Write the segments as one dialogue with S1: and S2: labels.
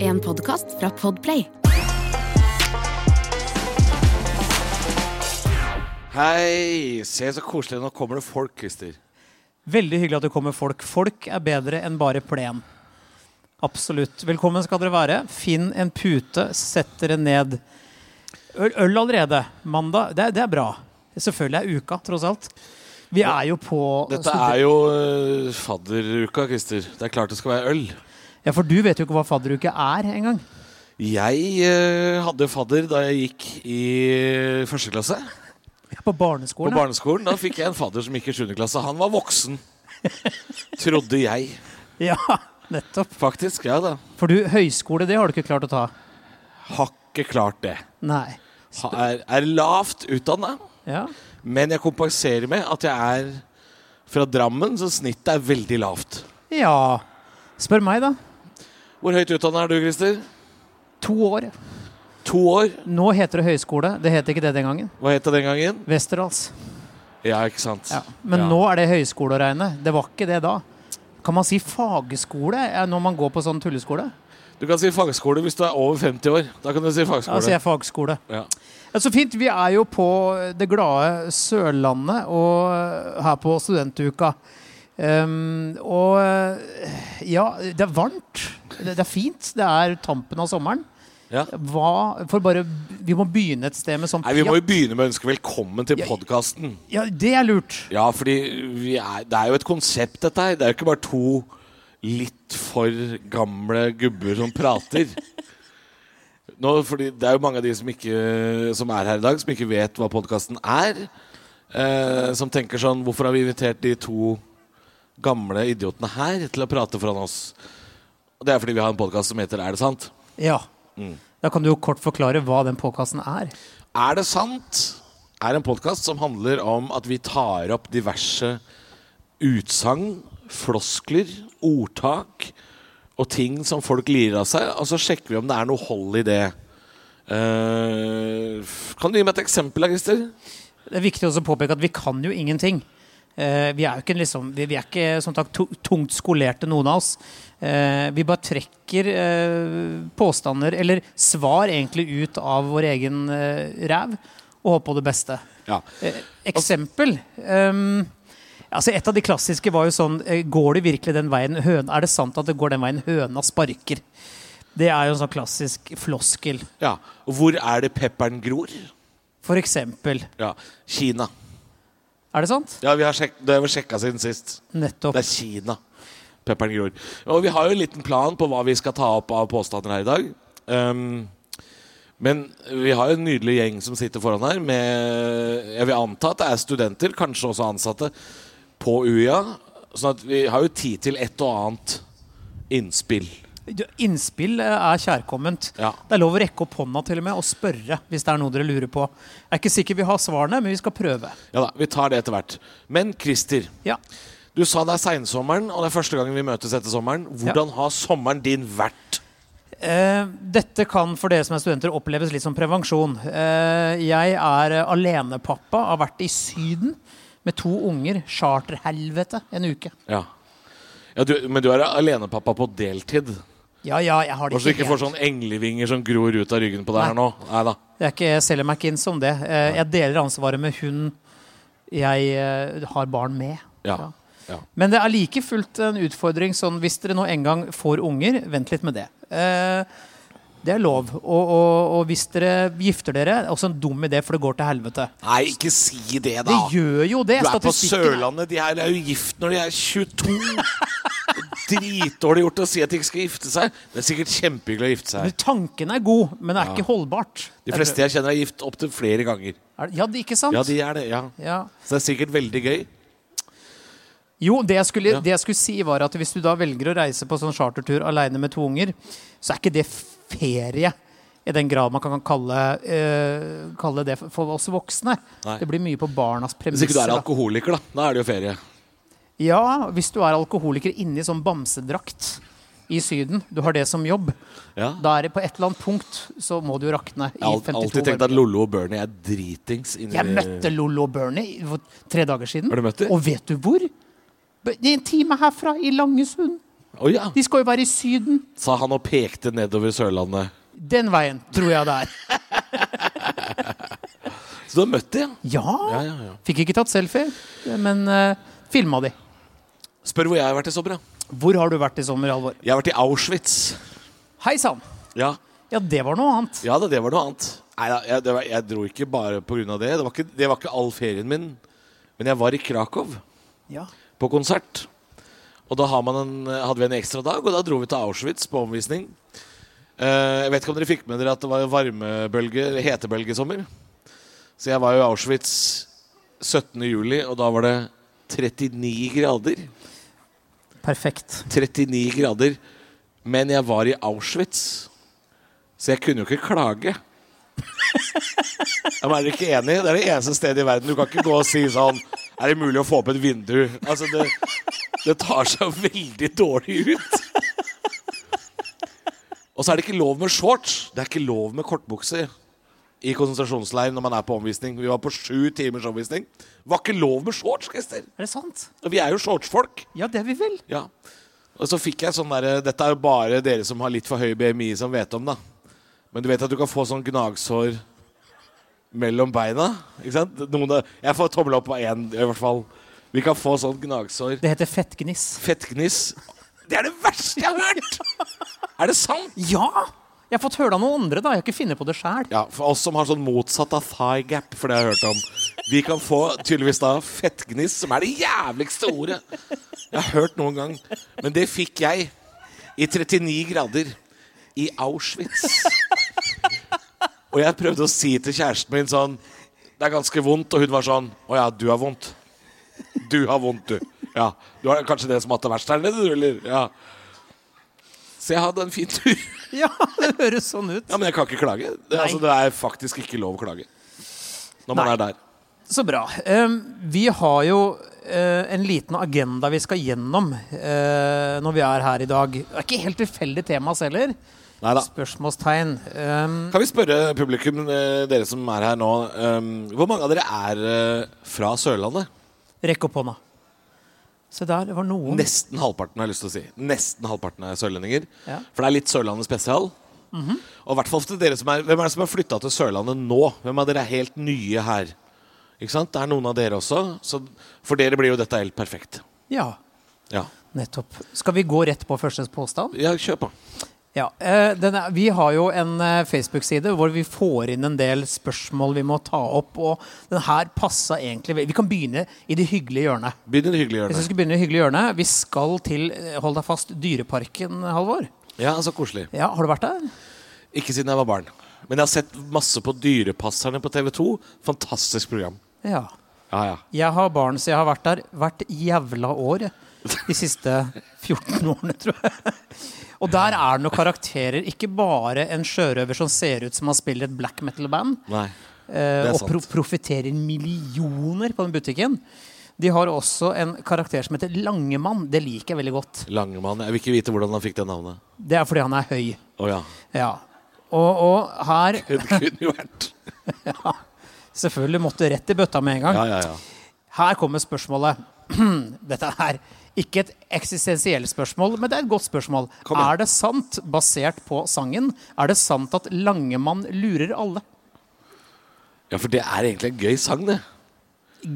S1: en podkast fra Podplay.
S2: Hei! Se så koselig. Nå kommer det folk, Christer.
S3: Veldig hyggelig at det kommer folk. Folk er bedre enn bare plen. Absolutt. Velkommen skal dere være. Finn en pute, sett dere ned. Øl, øl allerede. Mandag. Det, er- det er bra. Selvfølgelig er uka, tross alt. Vi er jo på
S2: Dette er jo eh, fadderuka, Christer. Det er klart det skal være øl.
S3: Ja, For du vet jo ikke hva fadderuke er engang.
S2: Jeg eh, hadde fadder da jeg gikk i eh, første klasse.
S3: Jeg er På
S2: På
S3: barneskolen. ja.
S2: barneskolen. Da fikk jeg en fadder som gikk i sjuende klasse. Han var voksen. Trodde jeg.
S3: ja, nettopp.
S2: Faktisk. Ja da.
S3: For du, høyskole, det har du ikke klart å ta.
S2: Har ikke klart det.
S3: Nei.
S2: Ha, er, er lavt utdanna.
S3: Ja.
S2: Men jeg kompenserer med at jeg er fra Drammen, så snittet er veldig lavt.
S3: ja. Spør meg, da.
S2: Hvor høyt utdanna er du, Christer?
S3: To år.
S2: To år.
S3: Nå heter det høyskole. Det het ikke det den gangen.
S2: Hva het det den gangen?
S3: Westerdals.
S2: Ja, ikke sant?
S3: Ja. Men
S2: Ja.
S3: nå er det høyskole å regne. Det var ikke det da. Kan man si fagskole eh, når man går på sånn tulleskole?
S2: Du kan si fagskole hvis du er over 50 år. Da kan du si
S3: Da sier
S2: fagskole.
S3: jeg fagskole.
S2: Ja.
S3: Ja, så fint. Vi er jo på det glade Sørlandet og eh, her på studentuka. Ehm, og eh, ja, det er varmt. Det, det er fint. Det er tampen av sommeren.
S2: Ja.
S3: Hva For bare Vi må begynne et sted med sånn
S2: Nei, Vi må jo begynne med å ønske velkommen til podkasten.
S3: Ja, det er lurt.
S2: Ja, fordi vi er, det er jo et konsept, dette her. Det er jo ikke bare to litt for gamle gubber som prater. Nå, fordi det er jo mange av de som, ikke, som er her i dag, som ikke vet hva podkasten er. Eh, som tenker sånn Hvorfor har vi invitert de to gamle idiotene her til å prate foran oss? Og Det er fordi vi har en podkast som heter Er det sant?
S3: Ja.
S2: Mm.
S3: Da kan du jo kort forklare hva den påkassen er.
S2: Er det sant? er en podkast som handler om at vi tar opp diverse utsagn, floskler, ordtak og ting som folk lirer av seg, og så sjekker vi om det er noe hold i det. Eh, kan du gi meg et eksempel, da, Christer?
S3: Det er viktig også å påpeke at vi kan jo ingenting. Eh, vi er jo ikke, en liksom, vi, vi er ikke sånn sagt, tu- tungt skolerte, noen av oss. Eh, vi bare trekker eh, påstander, eller svar egentlig, ut av vår egen eh, ræv og håper på det beste.
S2: Ja.
S3: Eh, eksempel ehm, altså Et av de klassiske var jo sånn eh, Går det virkelig den veien høna Er det sant at det går den veien høna sparker? Det er jo en sånn klassisk floskel.
S2: ja. Og Hvor er det pepperen gror?
S3: For eksempel.
S2: Ja. Kina.
S3: Er det sant?
S2: Ja, vi har sjek det har vi sjekka siden sist.
S3: Nettopp.
S2: Det er Kina. Pepperen gror. Og vi har jo en liten plan på hva vi skal ta opp av påstander her i dag. Ehm, men vi har jo en nydelig gjeng som sitter foran her med Jeg vil anta at det er studenter, kanskje også ansatte, på UiA. Sånn at vi har jo tid til et og annet innspill.
S3: Du, Innspill eh, er kjærkomment.
S2: Ja.
S3: Det er lov å rekke opp hånda til og med og spørre hvis det er noe dere lurer på. Jeg er ikke sikker vi har svarene, men vi skal prøve.
S2: Ja da, vi tar det etter hvert. Men Christer,
S3: Ja.
S2: du sa det er seinsommeren, og det er første gangen vi møtes etter sommeren. Hvordan har sommeren din vært?
S3: Eh, dette kan for dere som er studenter oppleves litt som prevensjon. Eh, jeg er eh, alenepappa, har vært i Syden med to unger. Charterhelvete en uke.
S2: Ja. ja du, men du er alenepappa på deltid.
S3: Ja, ja, jeg har det
S2: Bare så du
S3: ikke
S2: ikke
S3: helt.
S2: får sånn englevinger som gror ut av ryggen på deg her nå. Nei da.
S3: Jeg, er ikke, jeg selger meg ikke inn som det. Eh, jeg deler ansvaret med hun jeg eh, har barn med.
S2: Ja.
S3: Ja.
S2: ja.
S3: Men det er like fullt en utfordring sånn hvis dere nå en gang får unger, vent litt med det. Eh, det er lov. Og, og, og hvis dere gifter dere, også en dum idé, for det går til helvete.
S2: Nei, ikke si det, da.
S3: Det gjør jo det.
S2: du er på
S3: Statistikken er-
S2: Sørlandet. De her er jo gift når de er 22. Dritdårlig gjort å si at de ikke skal gifte seg. Det er sikkert kjempehyggelig å gifte
S3: Men
S2: seg.
S3: Tanken er god, men det er ikke holdbart.
S2: De fleste jeg kjenner er gift opptil flere ganger.
S3: Er det- Ja, det, ikke sant?
S2: Ja, de er det. ja
S3: Ja.
S2: Så det er sikkert veldig gøy.
S3: Jo, det jeg, skulle,
S2: Ja.
S3: det jeg skulle si var at hvis du da velger å reise på sånn chartertur alene med to unger, så er ikke det ferie i den grad man kan kalle, eh, kalle det for- for oss voksne.
S2: Nei.
S3: Det blir mye på barnas premisser.
S2: Hvis ikke du er
S3: da.
S2: alkoholiker, da. Da er det jo ferie.
S3: Ja, hvis du er alkoholiker inni sånn bamsedrakt i Syden, du har det som jobb,
S2: Ja.
S3: da er det på et eller annet punkt så må du jo rakne. i
S2: Jeg har al-
S3: 52
S2: alltid tenkt
S3: varmegrader.
S2: at Lollo og Bernie er dritings. inni-
S3: Jeg møtte Lollo og Bernie for tre dager siden.
S2: Har du møtt dem?
S3: Og vet du hvor? B- Det er en time herfra, i Langesund.
S2: Å ja,
S3: De skal jo være i Syden.
S2: sa han og pekte nedover Sørlandet.
S3: Den veien, tror jeg det er.
S2: Så du har møtt dem, ja?
S3: Ja!
S2: ja, ja, ja.
S3: Fikk ikke tatt selfie, men uh, filma de.
S2: Spør hvor jeg har vært i sommer, da.
S3: Hvor har du vært i sommer, Alvor?
S2: Jeg har vært i Auschwitz.
S3: Hei sann!
S2: Ja,
S3: Ja, det var noe annet.
S2: ja da, det var noe annet. Nei da, jeg, det var, jeg dro ikke bare pga. det. Det var, ikke, det var ikke all ferien min. Men jeg var i Krakow.
S3: Ja.
S2: på konsert. Og da har man en, hadde vi en ekstra dag, og da dro vi til Auschwitz på omvisning. Eh, jeg vet ikke om dere fikk med dere at det var varmebølge, eller hetebølge i sommer. Så jeg var jo i Auschwitz 17. juli, og da var det 39 grader.
S3: Perfekt.
S2: 39 grader. Men jeg var i Auschwitz, så jeg kunne jo ikke klage. Ja, men er dere ikke enig? Det er det eneste stedet i verden du kan ikke gå og si sånn Er det mulig å få opp et vindu? Altså, det, det tar seg veldig dårlig ut. Og så er det ikke lov med shorts. Det er ikke lov med kortbukser i konsentrasjonsleir når man er på omvisning. Vi var på sju timers omvisning. Var ikke lov med shorts, Christer.
S3: Er det sant?
S2: Og vi er jo shortsfolk.
S3: Ja, det er vi vel.
S2: Ja. Og så fikk jeg sånn derre Dette er jo bare dere som har litt for høy BMI, som vet om, da. Men du vet at du kan få sånn gnagsår mellom beina? Ikke sant? Noen, av- jeg får tommel opp av én, i hvert fall. Vi kan få sånn gnagsår.
S3: Det heter fettgniss.
S2: Fettgniss. Det er det verste jeg har hørt! Er det sant?
S3: Ja! Jeg har fått høre det av noen andre, da. Jeg har ikke funnet på det sjæl.
S2: Ja, for oss som har sånn motsatt av thigh gap, for det har jeg hørt om. Vi kan få tydeligvis da fettgniss, som er det jævligste ordet jeg har hørt noen gang. Men det fikk jeg i 39 grader i Auschwitz. Og jeg prøvde å si til kjæresten min sånn Det er ganske vondt, og hun var sånn Å ja, du har vondt. Du har vondt, du. Ja. Du har kanskje det som har hatt det verst her nede, du, eller? Ja. Så jeg hadde en fin tur.
S3: Ja, det høres sånn ut.
S2: Ja, men jeg kan ikke klage. Det, altså, det er faktisk ikke lov å klage. Når man
S3: Nei.
S2: er der.
S3: Så bra. Ehm, vi har jo eh, en liten agenda vi skal gjennom eh, når vi er her i dag. Det er ikke helt tilfeldig temas heller.
S2: Neida.
S3: Spørsmålstegn. Ehm,
S2: Kan vi spørre publikum, eh, dere som er her nå, eh, hvor mange av dere er eh, fra Sørlandet?
S3: rekk opp hånda. Se der, det var noen.
S2: Nesten halvparten, har jeg lyst til å si. Nesten halvparten er sørlendinger.
S3: Ja. Mhm.
S2: For det er litt Sørlandet spesial. Og i hvert fall til dere som er Hvem er det som har flytta til Sørlandet nå? Hvem av dere er helt nye her? Ikke sant? Det er noen av dere også. Så for dere blir jo dette helt perfekt.
S3: Ja,
S2: Ja,
S3: nettopp. Skal vi gå rett på første påstand?
S2: ja kjør på.
S3: Ja, eh, den er, Vi har jo en eh, Facebook-side hvor vi får inn en del spørsmål vi må ta opp. Og den her passa egentlig vel- Vi kan begynne i det hyggelige hjørnet.
S2: Begynn i det hyggelige
S3: Hvis vi
S2: hjørnet.
S3: skal begynne i hyggelig hjørne Vi skal til, eh, hold deg fast, Dyreparken, Halvor.
S2: Ja, så koselig.
S3: Ja, Har du vært der?
S2: Ikke siden jeg var barn. Men jeg har sett masse på Dyrepasserne på TV2. Fantastisk program.
S3: Ja.
S2: Ja, ja.
S3: Jeg har barn, så jeg har vært der hvert jævla år de siste 14 årene, tror jeg. Og der er det noen karakterer. Ikke bare en sjørøver som ser ut som han spiller et black metal-band.
S2: Nei.
S3: Eh,
S2: Det er
S3: og pro
S2: sant.
S3: profitterer millioner på den butikken. De har også en karakter som heter Langemann. Det liker jeg veldig godt.
S2: Langemann. Jeg vil ikke vite hvordan han fikk det navnet.
S3: Det er fordi han er høy.
S2: Å ja.
S3: Ja. Og, og her
S2: Det kunne jo vært
S3: Selvfølgelig måtte rett i bøtta med en gang.
S2: Ja, ja, ja.
S3: Her kommer spørsmålet. Dette er ikke et eksistensielt spørsmål, men det er et godt spørsmål.
S2: Kom igjen.
S3: Er det sant, basert på sangen, er det sant at Langemann lurer alle?
S2: Ja, for det er egentlig en gøy sang, det.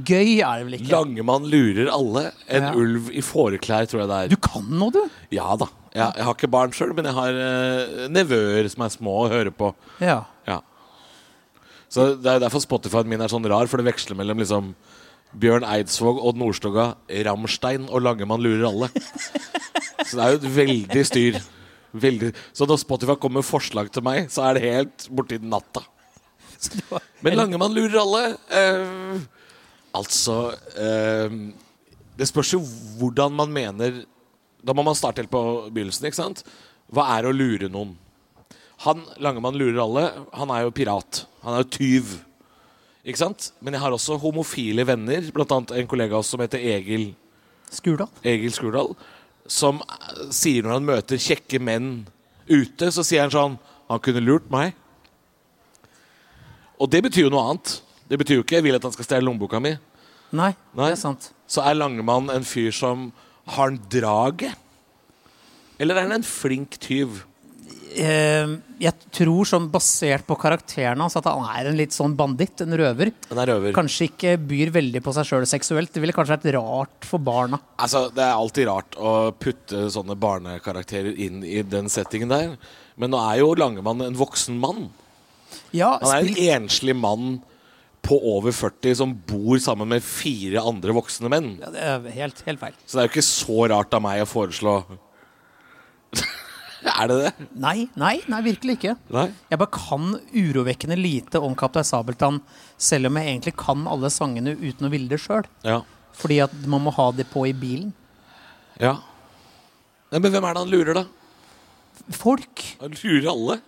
S3: Gøy er det vel ikke?
S2: Langemann lurer alle. En
S3: Ja.
S2: ulv i fåreklær, tror jeg det er.
S3: Du kan noe, du!
S2: Ja da. Jeg, jeg har ikke barn sjøl, men jeg har eh, nevøer som er små og hører på.
S3: Ja.
S2: Ja. Så Det er derfor Spotify-en min er sånn rar, for det veksler mellom liksom Bjørn Eidsvåg, Odd Nordstoga, Ramstein og Langemann lurer alle. Så det er jo et veldig styr. Veldig. Så når Spotify kommer med forslag til meg, så er det helt borti natta.
S3: Så det var-
S2: Men Langemann lurer alle. Eh, altså eh, Det spørs jo hvordan man mener Da må man starte helt på begynnelsen, ikke sant? Hva er å lure noen? Han, Langemann lurer alle. Han er jo pirat. Han er jo tyv. Ikke sant? Men jeg har også homofile venner, blant annet en kollega av oss som heter Egil.
S3: Skurdal?
S2: Egil Skurdal, som eh, sier når han møter kjekke menn ute, så sier han sånn Han kunne lurt meg. Og det betyr jo noe annet. Det betyr jo ikke jeg vil at han skal stjele lommeboka mi.
S3: Nei,
S2: Nei.
S3: det er sant.
S2: Så er Langemann en fyr som har en draget. Eller er han en flink tyv?
S3: Eh, jeg tror sånn basert på karakteren hans at han er en litt sånn banditt, en røver.
S2: Han er røver.
S3: Kanskje ikke byr veldig på seg sjøl seksuelt. Det ville kanskje vært rart for barna.
S2: Altså, Det er alltid rart å putte sånne barnekarakterer inn i den settingen der. Men nå er jo Langemann en voksen mann.
S3: Ja,
S2: Han er
S3: spilt-
S2: en enslig mann på over 40 som bor sammen med fire andre voksne menn.
S3: Ja, det er helt, helt feil.
S2: Så det er jo ikke så rart av meg å foreslå Er det det?
S3: Nei, nei, nei, virkelig ikke.
S2: Nei?
S3: Jeg bare kan urovekkende lite om Kaptein Sabeltann, selv om jeg egentlig kan alle sangene uten å ville det sjøl.
S2: Ja.
S3: Fordi at man må ha det på i bilen.
S2: ja. Nei, men hvem er det han lurer, da?
S3: Folk!
S2: Han lurer alle.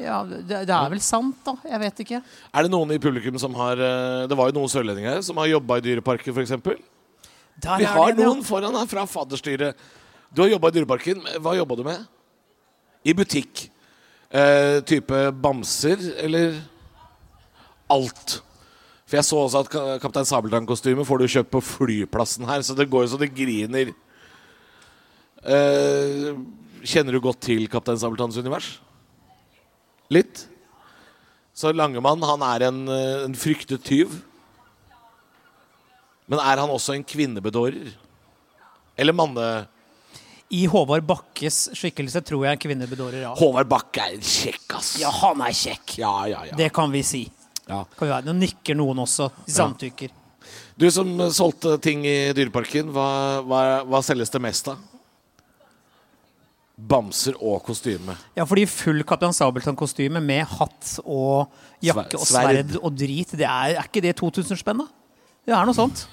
S3: Ja, det, det er vel sant, da. Jeg vet ikke.
S2: Er det noen i publikum som har eh, Det var jo noen sørlendinger her som har jobba i Dyreparken, f.eks.
S3: Der
S2: Vi
S3: er
S2: har
S3: den, ja.
S2: noen foran her fra fadderstyret. Du har jobba i Dyreparken. Hva jobba du med? I butikk. Eh, type bamser, eller Alt. For jeg så også at ka- Kaptein Sabeltann-kostyme får du kjøpt på flyplassen her, så det går jo så det griner. Eh, kjenner du godt til Kaptein Sabeltanns univers? Litt? Så Langemann, han er en, eh, en fryktet tyv. Men er han også en kvinnebedårer? Eller manne...
S3: I Håvard Bakkes skikkelse tror jeg kvinner bedårer av.
S2: Håvard Bakke er en kjekk, ass.
S3: Ja, han er kjekk!
S2: ja, ja. ja.
S3: Det kan vi si.
S2: Ja.
S3: Kan vi være. Nå nikker noen også. De samtykker.
S2: Du som eh, solgte ting i Dyreparken, hva, hva, hva selges det mest av? Bamser og kostyme.
S3: Ja, fordi full Kaptein Sabeltann-kostyme med hatt og jakke og
S2: Sverd.
S3: sverd og drit, det er, er ikke det 2000-spenn, da? Det er noe sånt.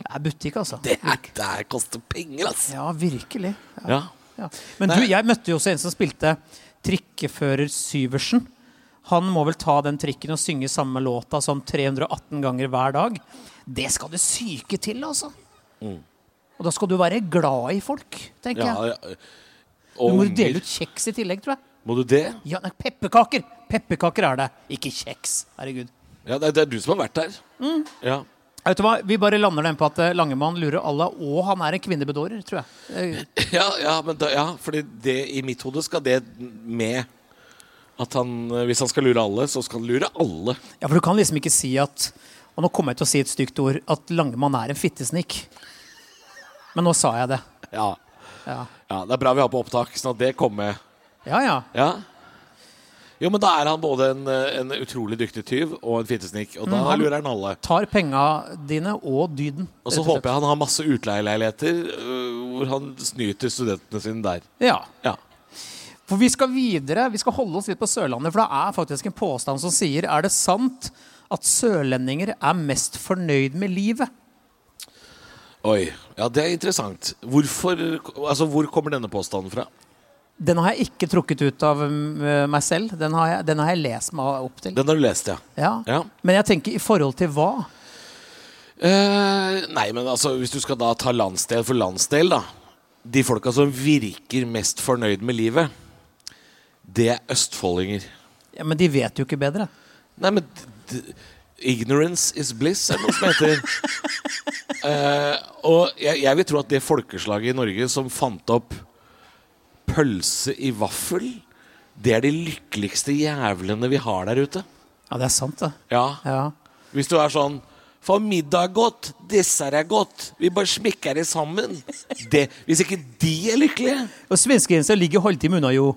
S3: Det er butikk, altså.
S2: Det her det her koster penger, ass.
S3: Ja, virkelig. Ja.
S2: Ja.
S3: Ja. Men du, jeg møtte jo også en som spilte trikkefører Syversen. Han må vel ta den trikken og synge samme låta sånn 318 ganger hver dag. Det skal det syke til, altså. Og da skal du være glad i folk,
S2: Mm.
S3: tenker
S2: ja,
S3: jeg.
S2: ja.
S3: Du
S2: Og
S3: må
S2: unger.
S3: jo dele ut kjeks i tillegg, tror jeg.
S2: Må du det?
S3: Ja, nei, pepperkaker! Pepperkaker er det, ikke kjeks. Herregud.
S2: Ja, det, er- det er du som har vært der.
S3: Mm.
S2: Ja.
S3: Vet du hva, Vi bare lander den på at eh, Langemann lurer alle, og han er en kvinnebedårer, tror jeg. Eh,
S2: Ja, ja, men da, ja, fordi det, i mitt hode skal det med at han, eh, hvis han skal lure alle, så skal han lure alle.
S3: Ja, for du kan liksom ikke si at Og nå kommer jeg til å si et stygt ord at Langemann er en fittesnik. Men nå sa jeg det.
S2: Ja.
S3: Ja.
S2: ja, det er bra vi har på opptak, sånn at det kom med.
S3: Ja, ja.
S2: Ja. Jo, men da er han både en, eh, en utrolig dyktig tyv og en fittesnik, og da
S3: Mm, han-
S2: lurer han alle.
S3: Tar penga dine og dyden.
S2: Og så håper jeg han har masse utleieleiligheter øh, hvor han snyter studentene sine der.
S3: Ja.
S2: Ja.
S3: For vi skal videre. Vi skal holde oss litt på Sørlandet, for det er faktisk en påstand som sier Er det sant at sørlendinger er mest fornøyd med livet?
S2: Oi. Ja, det er interessant. Hvorfor Altså, hvor kommer denne påstanden fra?
S3: Den har jeg ikke trukket ut av mm, meg selv. Den har jeg, den har jeg lest meg opp til.
S2: Den har du lest, ja.
S3: Ja.
S2: ja.
S3: Men jeg tenker i forhold til hva?
S2: Eh, nei, men altså, hvis du skal da ta landsdel for landsdel, da De folka som virker mest fornøyd med livet, det er østfoldinger.
S3: Ja, men de vet jo ikke bedre.
S2: Nei, men d- d- Ignorance is bliss er det noe som heter. Eh, og jeg, jeg vil tro at det folkeslaget i Norge som fant opp pølse i vaffel, det er de lykkeligste jævlene vi har der ute.
S3: Ja, det er sant, det.
S2: Ja.
S3: Ja.
S2: Hvis du er sånn For middag er godt, dessert er godt, vi bare smikker det sammen. Det, hvis ikke de er lykkelige
S3: Og svenskegrensa ligger halvtime unna, jo.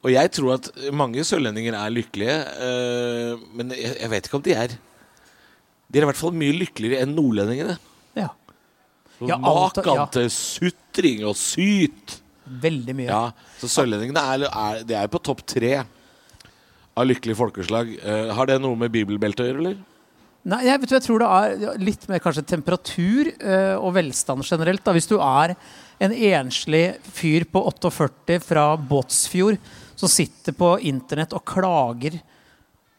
S2: Og jeg tror at mange sørlendinger er lykkelige, eh, men jeg, jeg vet ikke om de er. De er i hvert fall mye lykkeligere enn nordlendingene.
S3: Ja. Ja, alt-
S2: Makan
S3: ja.
S2: til sutring og syt!
S3: Veldig mye.
S2: Ja, Så sørlendingene er, er, de er på topp tre av lykkelige folkeslag. Eh, har det noe med bibelbeltet å gjøre, eller?
S3: Nei, jeg, vet du, jeg tror det er ja, litt mer kanskje temperatur eh, og velstand generelt. Da. Hvis du er en enslig fyr på 48 fra Båtsfjord som sitter på internett og klager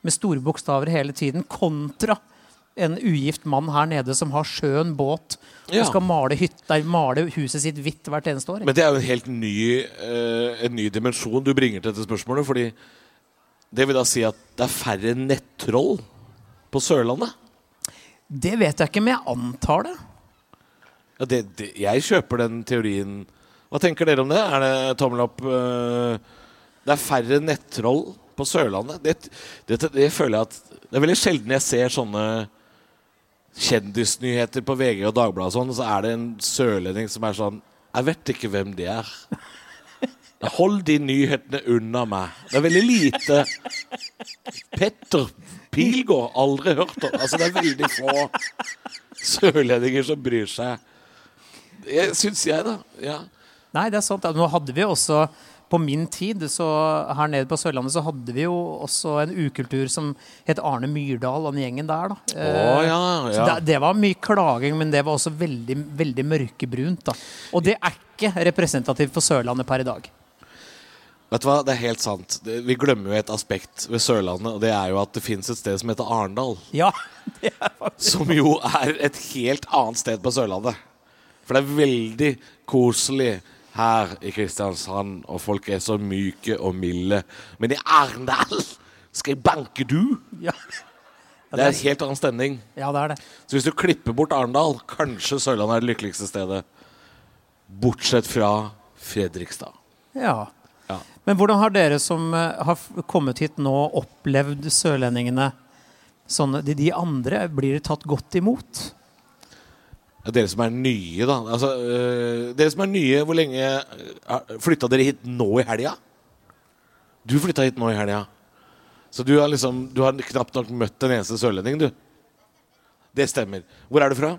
S3: med store bokstaver hele tiden, kontra en ugift mann her nede som har sjøen båt og
S2: Ja.
S3: skal male, hytta, male huset sitt hvitt hvert eneste år.
S2: Men det er jo en helt ny, eh, en ny dimensjon du bringer til dette spørsmålet, fordi det vil da si at det er færre nettroll på Sørlandet?
S3: Det vet jeg ikke, men jeg antar det.
S2: Ja, det, det, jeg kjøper den teorien Hva tenker dere om det? Er det tommel opp? eh, Det er færre nettroll på Sørlandet. Det, det, det føler jeg at Det er veldig sjelden jeg ser sånne kjendisnyheter på VG og Dagbladet og sånn, så er det en sørlending som er sånn Jeg vet ikke hvem de er. Hold de nyhetene unna meg. Det er veldig lite Petter Pilgaard, aldri hørt om. Altså, det er veldig få sørlendinger som bryr seg. Syns jeg, da. Ja.
S3: Nei, det er sant. Nå hadde vi også på min tid, så her nede på Sørlandet, så hadde vi jo også en ukultur som het Arne Myrdal og den gjengen der, da.
S2: Å,
S3: Eh,
S2: ja,
S3: Så
S2: ja.
S3: det, det var mye klaging, men det var også veldig, veldig mørkebrunt, da. Og det er ikke representativt for Sørlandet per i dag.
S2: Vet du hva, det er helt sant. Det- Vi glemmer jo et aspekt ved Sørlandet, og det er jo at det fins et sted som heter Arendal.
S3: Ja, det er faktisk
S2: Som jo er et helt annet sted på Sørlandet. For det er veldig koselig her i Kristiansand, og folk er så myke og milde. Men i Arendal skal jeg banke du!
S3: ja. Ja,
S2: Det er en helt annen stemning.
S3: ja, det er det.
S2: Så hvis du klipper bort Arendal, kanskje Sørlandet er det lykkeligste stedet. Bortsett fra Fredrikstad.
S3: Ja.
S2: Ja.
S3: Men hvordan har dere som eh, har f- kommet hit nå, opplevd sørlendingene sånn de, de andre? Blir de tatt godt imot?
S2: Ja, Dere som er nye, da. Altså, øh, dere som er nye, hvor lenge øh, Flytta dere hit nå i helga? Du flytta hit nå i helga. Så du har liksom Du har knapt nok møtt en eneste sørlending, du. Det stemmer. Hvor er du fra?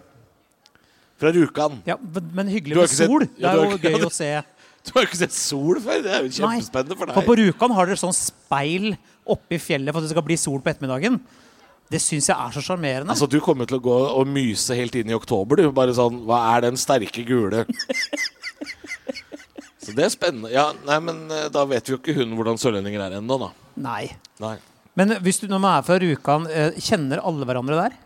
S2: Fra Rjukan.
S3: Ja, men men
S2: Du
S3: hyggelig
S2: har
S3: med
S2: ikke sett-
S3: sol.
S2: Ja,
S3: det
S2: du
S3: er
S2: har
S3: jo
S2: ikke-
S3: gøy å se.
S2: Du har jo ikke sett sol før! Det er jo
S3: Nei,
S2: kjempespennende for
S3: For på
S2: deg.
S3: Rjukan har dere sånn speil oppi fjellet for at det skal bli sol på ettermiddagen. Det syns jeg er så sjarmerende.
S2: Altså, du kommer til å gå og myse helt inn i oktober, du. Bare sånn Hva er den sterke gule? Så det er spennende. Ja, nei, men øh, da vet vi jo ikke hun hvordan sørlendinger er ennå, da.
S3: Nei.
S2: Nei.
S3: Men hvis du når man er fra Rjukan, eh, kjenner alle hverandre der?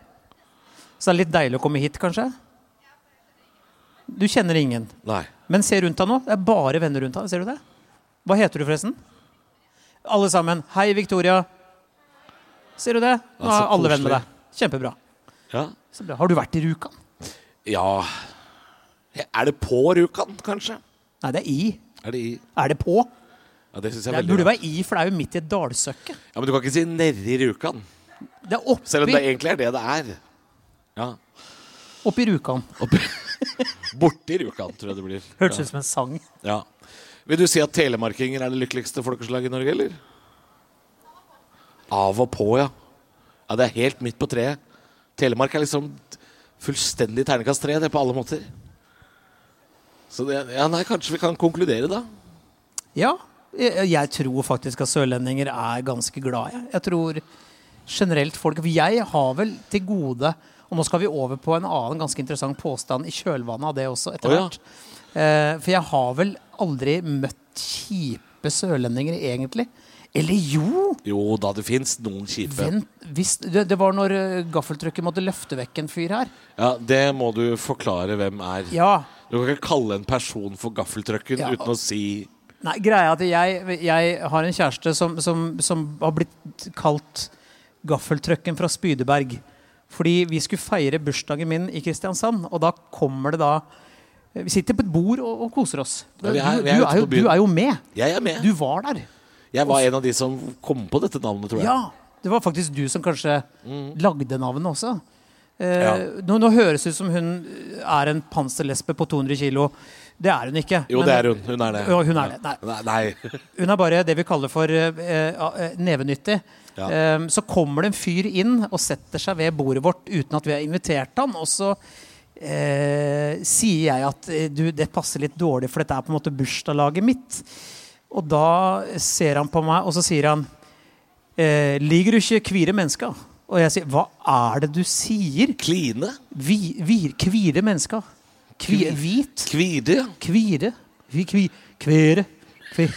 S3: Så det er litt deilig å komme hit, kanskje? Du kjenner ingen.
S2: Nei.
S3: Men se rundt deg nå. Det er bare venner rundt deg. Ser du det? Hva heter du, forresten? Alle sammen. Hei, Victoria. Ser du det? Nå
S2: Ja, så
S3: er alle venn med
S2: koselig.
S3: deg. Kjempebra.
S2: Ja.
S3: Så bra. Har du vært i Rjukan?
S2: Er det på Rjukan, kanskje?
S3: Nei, det er i.
S2: Er det i?
S3: Er det på?
S2: Ja, det synes jeg
S3: Det
S2: er veldig
S3: burde
S2: rart.
S3: være i, for det er jo midt i et dalsøkke.
S2: Ja, Men du kan ikke si nedi Rjukan.
S3: Det er oppi,
S2: Selv om det egentlig er det det er. Ja.
S3: oppi Rjukan.
S2: Opp. Borti Rjukan, tror jeg det blir.
S3: Hørtes ut som en sang.
S2: Ja. Vil du si at telemarkinger er det lykkeligste folkeslaget i Norge, eller? Av og på, ja. Ja, Det er helt midt på treet. Telemark er liksom fullstendig ternekast tre, det, på alle måter. Så det, ja, nei, kanskje vi kan konkludere, da.
S3: Ja, jeg, jeg tror faktisk at sørlendinger er ganske glad. Jeg, jeg tror generelt folk For jeg har vel til gode Og nå skal vi over på en annen ganske interessant påstand i kjølvannet av det også, etter
S2: Å ja.
S3: hvert. Eh, for jeg har vel aldri møtt kjipe sørlendinger, egentlig. Eller jo!
S2: Jo da, det fins noen kjipe.
S3: Vent, hvis, det, det var når eh, gaffeltrykket måtte løfte vekk en fyr her.
S2: Ja, Det må du forklare hvem er.
S3: Ja,
S2: Du kan ikke kalle en person for gaffeltrucken
S3: Ja.
S2: uten å si
S3: Nei, greia er at jeg, jeg har en kjæreste som, som, som har blitt kalt gaffeltrøkken fra Spydeberg. Fordi vi skulle feire bursdagen min i Kristiansand, og da kommer det da Vi sitter på et bord og, og koser oss. Du,
S2: Ja, vi er-
S3: du,
S2: vi er ute
S3: er jo,
S2: på byen.
S3: du er jo med.
S2: Jeg er med.
S3: Du var der.
S2: Jeg var en av de som kom på dette navnet, tror jeg.
S3: Ja. Det var faktisk du som kanskje lagde navnet også. Eh,
S2: Mm. Ja.
S3: nå, nå høres det ut som hun er en panserlesbe på 200 kilo. Det er hun ikke.
S2: Jo,
S3: men-
S2: det er hun. Hun er det.
S3: Ja, hun er det. Nei.
S2: Nei, nei.
S3: Hun er bare det vi kaller for eh, eh, nevenyttig.
S2: Ja.
S3: Eh, så kommer det en fyr inn og setter seg ved bordet vårt uten at vi har invitert han, og så eh, sier jeg at eh, du, det passer litt dårlig, for dette er på en måte bursdagslaget mitt. Og da ser han på meg, og så sier han eh, Liker du ikke kvire mennesker? Og jeg sier hva er det du sier?
S2: Kline?
S3: Vi, vi, kvire mennesker? Kvi, hvit?
S2: Kvide? ja.
S3: Kvire. Vi kvi, kvere. Kvi.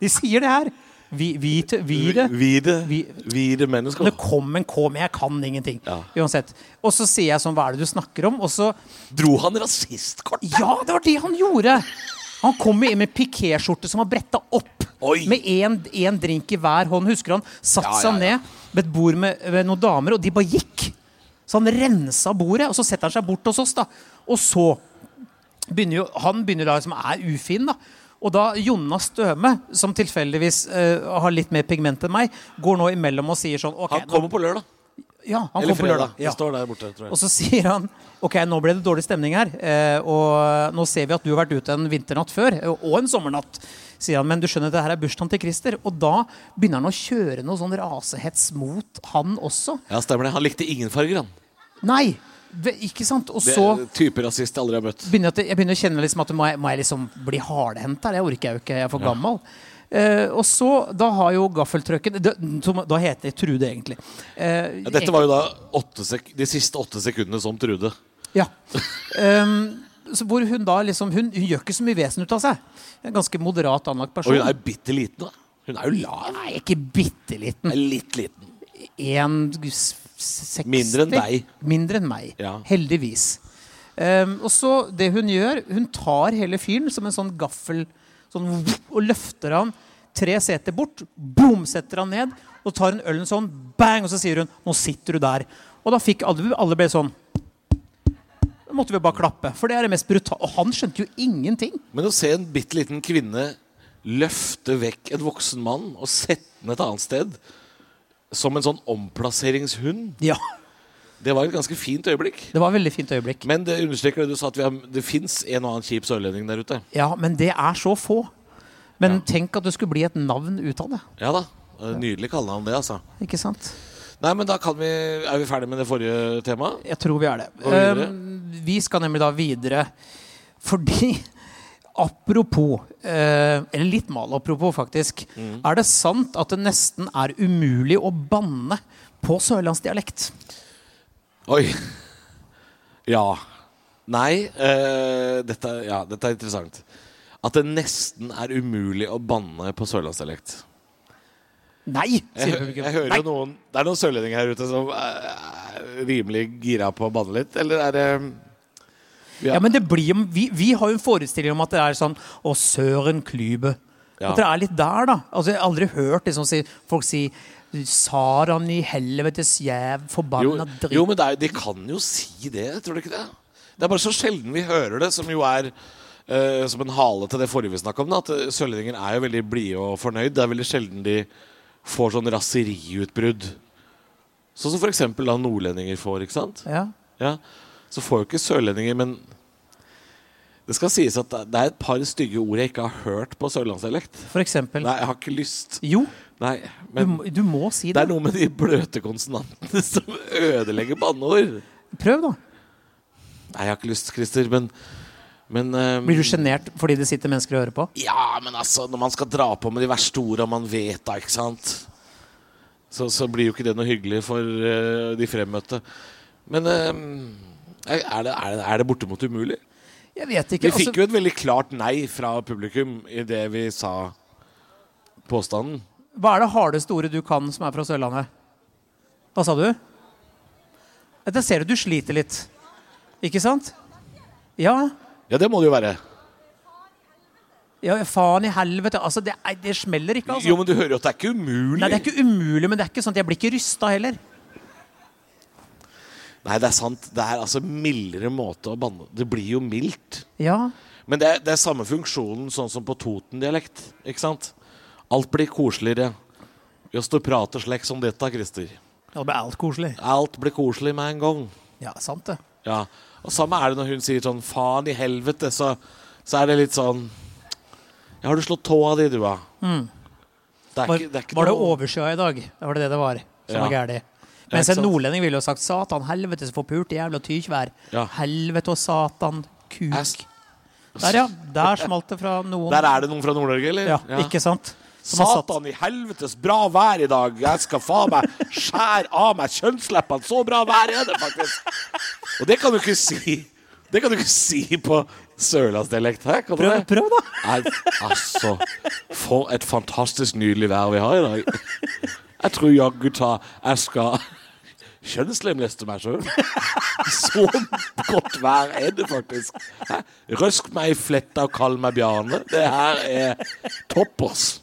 S3: De sier det her. Vi, hvite, vire.
S2: Vide.
S3: Vi-
S2: Vide mennesker.
S3: Det kom en K, men jeg kan ingenting.
S2: Ja.
S3: Uansett. Og så sier jeg sånn, hva er det du snakker om? Og så
S2: Dro han rasistkortet?
S3: Ja, det var det han gjorde! Han kom jo inn med pikéskjorte som var bretta opp.
S2: Oi.
S3: Med én drink i hver hånd. Husker han satte
S2: Ja, ja,
S3: seg
S2: ja.
S3: ned ved et bord med, med noen damer, og de bare gikk. Så han rensa bordet, og så setter han seg bort hos oss, da. Og så begynner jo, han begynner da som er ufin, da. Og da Jonna Støme, som tilfeldigvis eh, har litt mer pigment enn meg, går nå imellom og sier sånn ok,
S2: Han
S3: nå,
S2: kommer på lørdag.
S3: ja,
S2: Eller
S3: han kommer på
S2: fredag.
S3: lørdag.
S2: Det
S3: Ja.
S2: står der borte, tror
S3: Og
S2: jeg.
S3: så sier han ok, nå ble det dårlig stemning her, eh, og nå ser vi at du har vært ute en vinternatt før, og en sommernatt, sier han, men du skjønner at det her er bursdagen til Christer. Og da begynner han å kjøre noe sånn rasehets mot han også.
S2: Ja, stemmer det. Han likte ingen farger, han.
S3: Nei! ve- Ikke sant? Og
S2: Det
S3: så
S2: er type rasist jeg aldri har møtt.
S3: begynner jeg, til- jeg begynner å kjenne liksom at må jeg, må jeg liksom bli hardhendt her? Jeg orker jeg jo ikke, jeg er for gammel. Eh, og så, da har jo gaffeltrucken det- som- Da heter det Trude, egentlig. Eh,
S2: Ja, dette var jo da åtte sek de siste åtte sekundene som Trude.
S3: Ja. Ehm, så hvor hun da liksom hun, hun gjør ikke så mye vesen ut av seg. En ganske moderat anlagt
S2: Og
S3: person.
S2: hun er jo bitte liten, da. Hun er jo lav.
S3: Nei, ikke bitte liten.
S2: Hun er Litt liten.
S3: En s- s- 60
S2: Mindre enn deg.
S3: Mindre enn meg.
S2: Ja.
S3: Heldigvis. Ehm, og så det hun gjør, hun tar hele fyren som en sånn gaffel sånn, vup, og løfter han tre seter bort. Boom! Setter han ned. Og tar en ølen sånn, bang! Og så sier hun 'Nå sitter du der'. Og da fikk alle, alle ble sånn Da måtte vi bare klappe. For det er det mest brutale. Og han skjønte jo ingenting.
S2: Men å se en bitte liten kvinne løfte vekk en voksen mann og sette den et annet sted, som en sånn omplasseringshund,
S3: Ja,
S2: det var et ganske fint øyeblikk.
S3: Det var et veldig fint øyeblikk.
S2: Men det understreker det du sa, at vi har, det fins en og annen kjip sørlending der ute.
S3: Ja, Men det er så få. Men tenk at det skulle bli et navn ut av det.
S2: Ja da. eh, Nydelig kallenavn, det, altså.
S3: Ikke sant?
S2: Nei, men da kan vi, er vi ferdig med det forrige temaet.
S3: Jeg tror vi er det.
S2: Og videre?
S3: Eh, vi skal nemlig da videre fordi Apropos, eh, eller litt mal apropos, faktisk.
S2: Mm.
S3: Er det sant at det nesten er umulig å banne på sørlandsdialekt?
S2: Oi. Ja. Nei. eh, dette, er- ja, dette er interessant. At det nesten er umulig å banne på sørlandsdialekt.
S3: Nei!
S2: Jeg,
S3: sier
S2: hø-
S3: publikum.
S2: jeg hører jo noen Det er noen sørlendinger her ute som er er rimelig gira på å banne litt, eller er det
S3: ja. men det blir jo vi, vi har jo en forestilling om at det er sånn Å, søren klybe.
S2: Ja.
S3: At det er litt der, da. Altså, jeg har aldri hørt liksom, si, folk si Saran i helvetes jæv,
S2: jo,
S3: forbanna dritt.
S2: jo, men det er, de kan jo si det, tror du ikke det? Det er bare så sjelden vi hører det, som jo er eh, som en hale til det forrige vi snakka om. Da, at eh, sørlendinger er jo veldig blide og fornøyd. Det er veldig sjelden de får sånn raseriutbrudd. Sånn som for eksempel da nordlendinger får, ikke sant?
S3: Ja.
S2: Ja. Så får jo ikke sørlendinger, men det skal sies at det er et par stygge ord jeg ikke har hørt på sørlandsdialekt.
S3: For eksempel.
S2: Nei, jeg har ikke lyst.
S3: Jo,
S2: Nei,
S3: du,
S2: men
S3: må- du må si
S2: det
S3: det.
S2: er noe med de bløte konsonantene som ødelegger banneord.
S3: Prøv, da.
S2: Nei, jeg har ikke lyst, Christer, men, men ehm,
S3: Blir du sjenert fordi det sitter mennesker og hører på?
S2: Ja, men altså, når man skal dra på med de verste ordene man vet da, ikke sant? Så, så blir jo ikke det noe hyggelig for eh, de fremmøtte. Men ehm, er, er det, er, det, er det bortimot umulig?
S3: Jeg vet ikke. Altså,
S2: Vi fikk jo et veldig klart nei fra publikum i det vi sa påstanden.
S3: Hva er det hardeste ordet du kan som er fra Sørlandet? Hva sa du? Jeg ser du du sliter litt. Ikke sant? Ja.
S2: Ja, det må det jo være.
S3: ja faen i helvete. Altså, det, er- det smeller ikke, altså.
S2: Jo, men du hører jo at det er ikke umulig.
S3: Nei, det er ikke umulig, men det er ikke sånn at jeg blir ikke rysta heller.
S2: Nei, det er sant. Det er altså mildere måte å banne Det blir jo mildt.
S3: Ja.
S2: Men det er, det er samme funksjonen sånn som på Toten-dialekt, ikke sant? Alt blir koseligere. Just å prate slik som dette, Christer.
S3: Ja, Det blir alt koselig.
S2: Alt blir koselig med en gang.
S3: Ja, sant det.
S2: Ja. Og samme er det når hun sier sånn faen i helvete, så, så er det litt sånn Ja, har du slått tåa di, du, da? Det er
S3: Mm. Var,
S2: ikke, det er ikke
S3: var det
S2: noe-
S3: oversjøa i dag? Det var det det det var som
S2: Ja.
S3: var gærlig. Mens
S2: ikke
S3: en
S2: sant?
S3: nordlending ville jo sagt 'satan, helvete så forpult jævla tykvær'.
S2: Ja.
S3: Helvete og satan, kuk.
S2: Ass.
S3: Der, ja. Der smalt det fra noen.
S2: Der er det noen fra Nord-Norge, eller?
S3: ja, Ikke sant? Som har satt-
S2: Satan i helvetes bra vær i dag. Jeg skal faen meg skjære av meg kjønnsleppene. Så bra vær er det faktisk. Og det kan du ikke si. Det kan du ikke si på sørlandsdialekt. Hæ? Kan du
S3: Prøv,
S2: det?
S3: prøv, da!
S2: Nei, altså For et fantastisk nydelig vær vi har i dag. Jeg tror jaggu ta jeg skal kjønnslemleste meg sjøl. Så godt vær er det faktisk. Hæ? Røsk meg i fletta og kall meg Bjarne. Det her er toppers.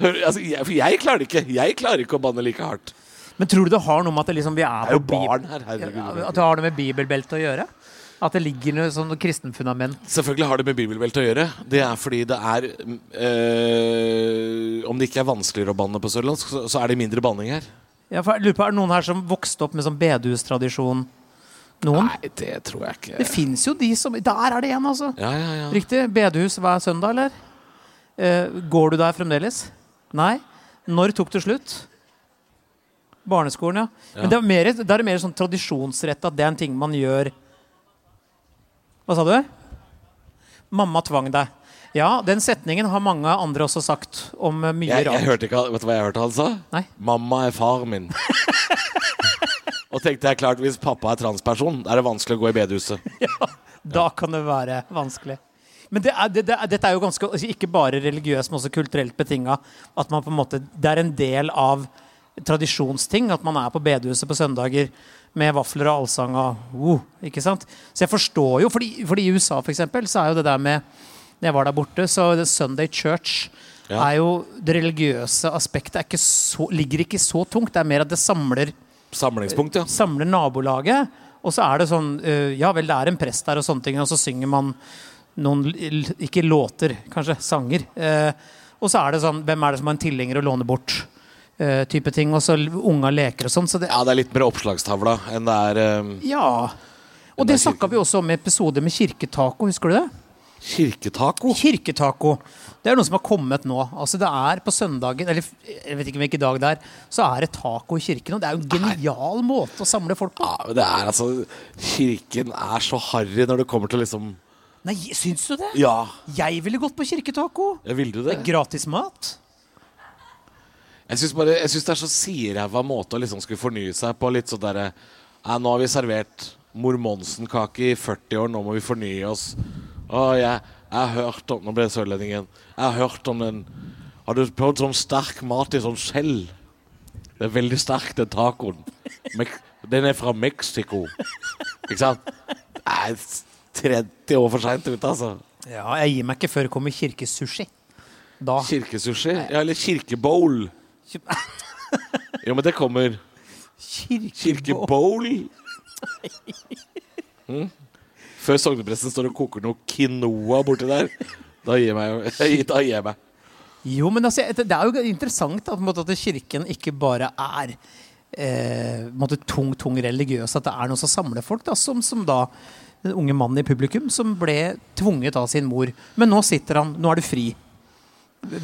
S2: Hør, altså, jeg, for jeg klarer det ikke. Jeg klarer ikke å banne like hardt.
S3: Men tror du det har noe med at det liksom, vi er
S2: Det er jo
S3: på Bib-
S2: barn her.
S3: Ja,
S2: Herregud.
S3: At det har det med bibelbeltet å gjøre? At det ligger noe sånn kristenfundament.
S2: Selvfølgelig har det med bibelbelte å gjøre. Det er fordi det er eh, Om det ikke er vanskeligere å banne på sørlandsk, så, så er det mindre banning her.
S3: Ja, for jeg lurer på, Er det noen her som vokste opp med sånn bedehustradisjon? Noen?
S2: Nei, det tror jeg
S3: Det
S2: ikke.
S3: fins jo de som Der er det en, altså!
S2: Ja, ja, ja.
S3: Riktig. Bedehus hver søndag, eller? Eh, går du der fremdeles? Nei. Når tok det slutt? Barneskolen, ja. Men
S2: Ja.
S3: det er mer, da er det mer sånn tradisjonsrett at det er en ting man gjør Hva sa du? Mamma tvang deg. Ja, den setningen har mange andre også sagt om eh, mye
S2: Jeg, jeg
S3: rart.
S2: hørte ikke, han- vet du hva jeg hørte han sa?
S3: Nei.
S2: 'Mamma er far min'. Og tenkte jeg klart, hvis pappa er transperson, er det vanskelig å gå i bedehuset.
S3: Da kan det være vanskelig. Men det er, det, det er, dette er jo ganske, altså ikke bare religiøst, men også kulturelt betinga. At man på en måte, det er en del av tradisjonsting at man er på bedehuset på søndager med vafler og allsang og uh, ikke sant? Så jeg forstår jo, fordi, fordi i USA for eksempel, så er jo det der med når jeg var der borte, så det Sunday Church
S2: Ja.
S3: er jo Det religiøse aspektet er ikke så, ligger ikke så tungt. Det er mer at det samler
S2: Samlingspunkt, ja.
S3: samler nabolaget, og så er det sånn eh, Ja vel, det er en prest der, og sånne ting, og så synger man noen l- Ikke låter, kanskje. Sanger. Eh, og så er det sånn Hvem er det som har en tilhenger å låne bort? eh, type ting. Og så l- unga leker og sånn. Så det
S2: Ja, det er litt mer oppslagstavla enn det er eh,
S3: Ja. Og det snakka vi også om i episode med kirketaco, husker du det?
S2: kirketaco.
S3: Kirketaco. Det er noe som har kommet nå. Altså det er på søndagen, eller f- jeg vet ikke hvilken dag det er, så er det taco i kirken. Og det er jo en genial måte å samle folk på.
S2: Ja, men det er altså Kirken er så harry når det kommer til liksom
S3: Nei, syns du det?
S2: Ja,
S3: Jeg ville gått på kirketaco.
S2: jeg ville du det?
S3: Gratis mat.
S2: Jeg syns bare Jeg synes det er så siræva måte å liksom skulle fornye seg på. Litt sånn derre ja, Nå har vi servert mormonsenkake i 40 år, nå må vi fornye oss. Å, jeg, jeg har hørt om Nå ble jeg sørlending igjen. Jeg har hørt om den Har du prøvd sånn sterk mat i sånn skjell? Det er veldig sterk, den tacoen. Mek den er fra Mexico. Ikke sant? Det er 30 år for seint ute, altså.
S3: Ja, jeg gir meg ikke før det kommer kirkesushi. Da.
S2: Kirkesushi? Ja, eller kirkebowl. Jo, men det kommer.
S3: Kirkebål.
S2: Kirkebowl? Mm. Før sognepresten står og koker noe quinoa borti der, da gir jeg meg. Da gir jeg meg.
S3: Jo, men altså, jeg- det er jo interessant at, på en måte, at kirken ikke bare er eh, på en måte, tung, tung religiøs, at det er noe som samler folk, da, som, som da den unge mannen i publikum som ble tvunget av sin mor. Men nå sitter han, nå er du fri.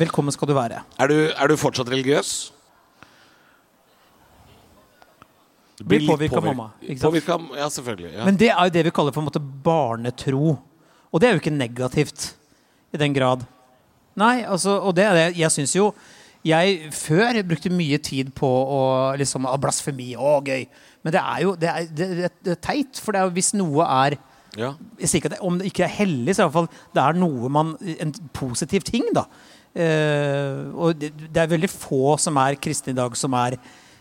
S3: Velkommen skal du være.
S2: Er du, er du fortsatt religiøs? Du
S3: Blir
S2: litt
S3: påvirket av
S2: påvirk-
S3: mamma, ikke sant?
S2: Påvirket av- ja, selvfølgelig. Ja.
S3: Men det er jo det vi kaller for en måte barnetro. Og det er jo ikke negativt i den grad. Nei, altså, og det er det jeg syns jo Jeg før brukte mye tid på å liksom ah, Blasfemi, å, gøy. Men det er jo det er, det, det, det er teit, for det er jo hvis noe er
S2: ja.
S3: jeg sier ikke at det, Om det ikke er hellig, så er det iallfall det er noe man En positiv ting, da. Eh, og det, det er veldig få som er kristne i dag, som er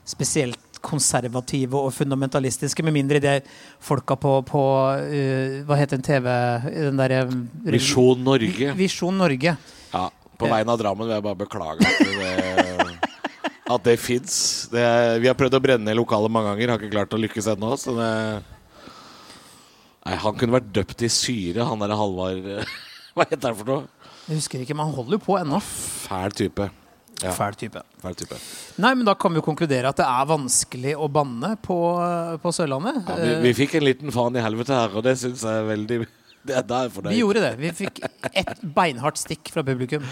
S3: spesielt konservative og fundamentalistiske, med mindre det er folka på, på eh, Hva heter den TV den der, eh,
S2: Visjon Norge.
S3: Visjon Norge.
S2: Ja, på vegne av Drammen vil jeg bare beklage at det, at det fins. Det- Vi har prøvd å brenne ned lokalet mange ganger, har ikke klart å lykkes ennå. Så det Nei, han kunne vært døpt i syre, han derre Halvard Hva heter han for noe?
S3: Jeg husker ikke, men han holder jo på ennå.
S2: Fæl type. Ja.
S3: Fæl type.
S2: Fæl type.
S3: Nei, men da kan vi jo konkludere at det er vanskelig å banne på, eh, på Sørlandet.
S2: Ja, vi, vi fikk en liten faen i helvete her, og det syns jeg er veldig det, Da er jeg fornøyd.
S3: Vi gjorde det. Vi fikk et beinhardt stikk fra publikum.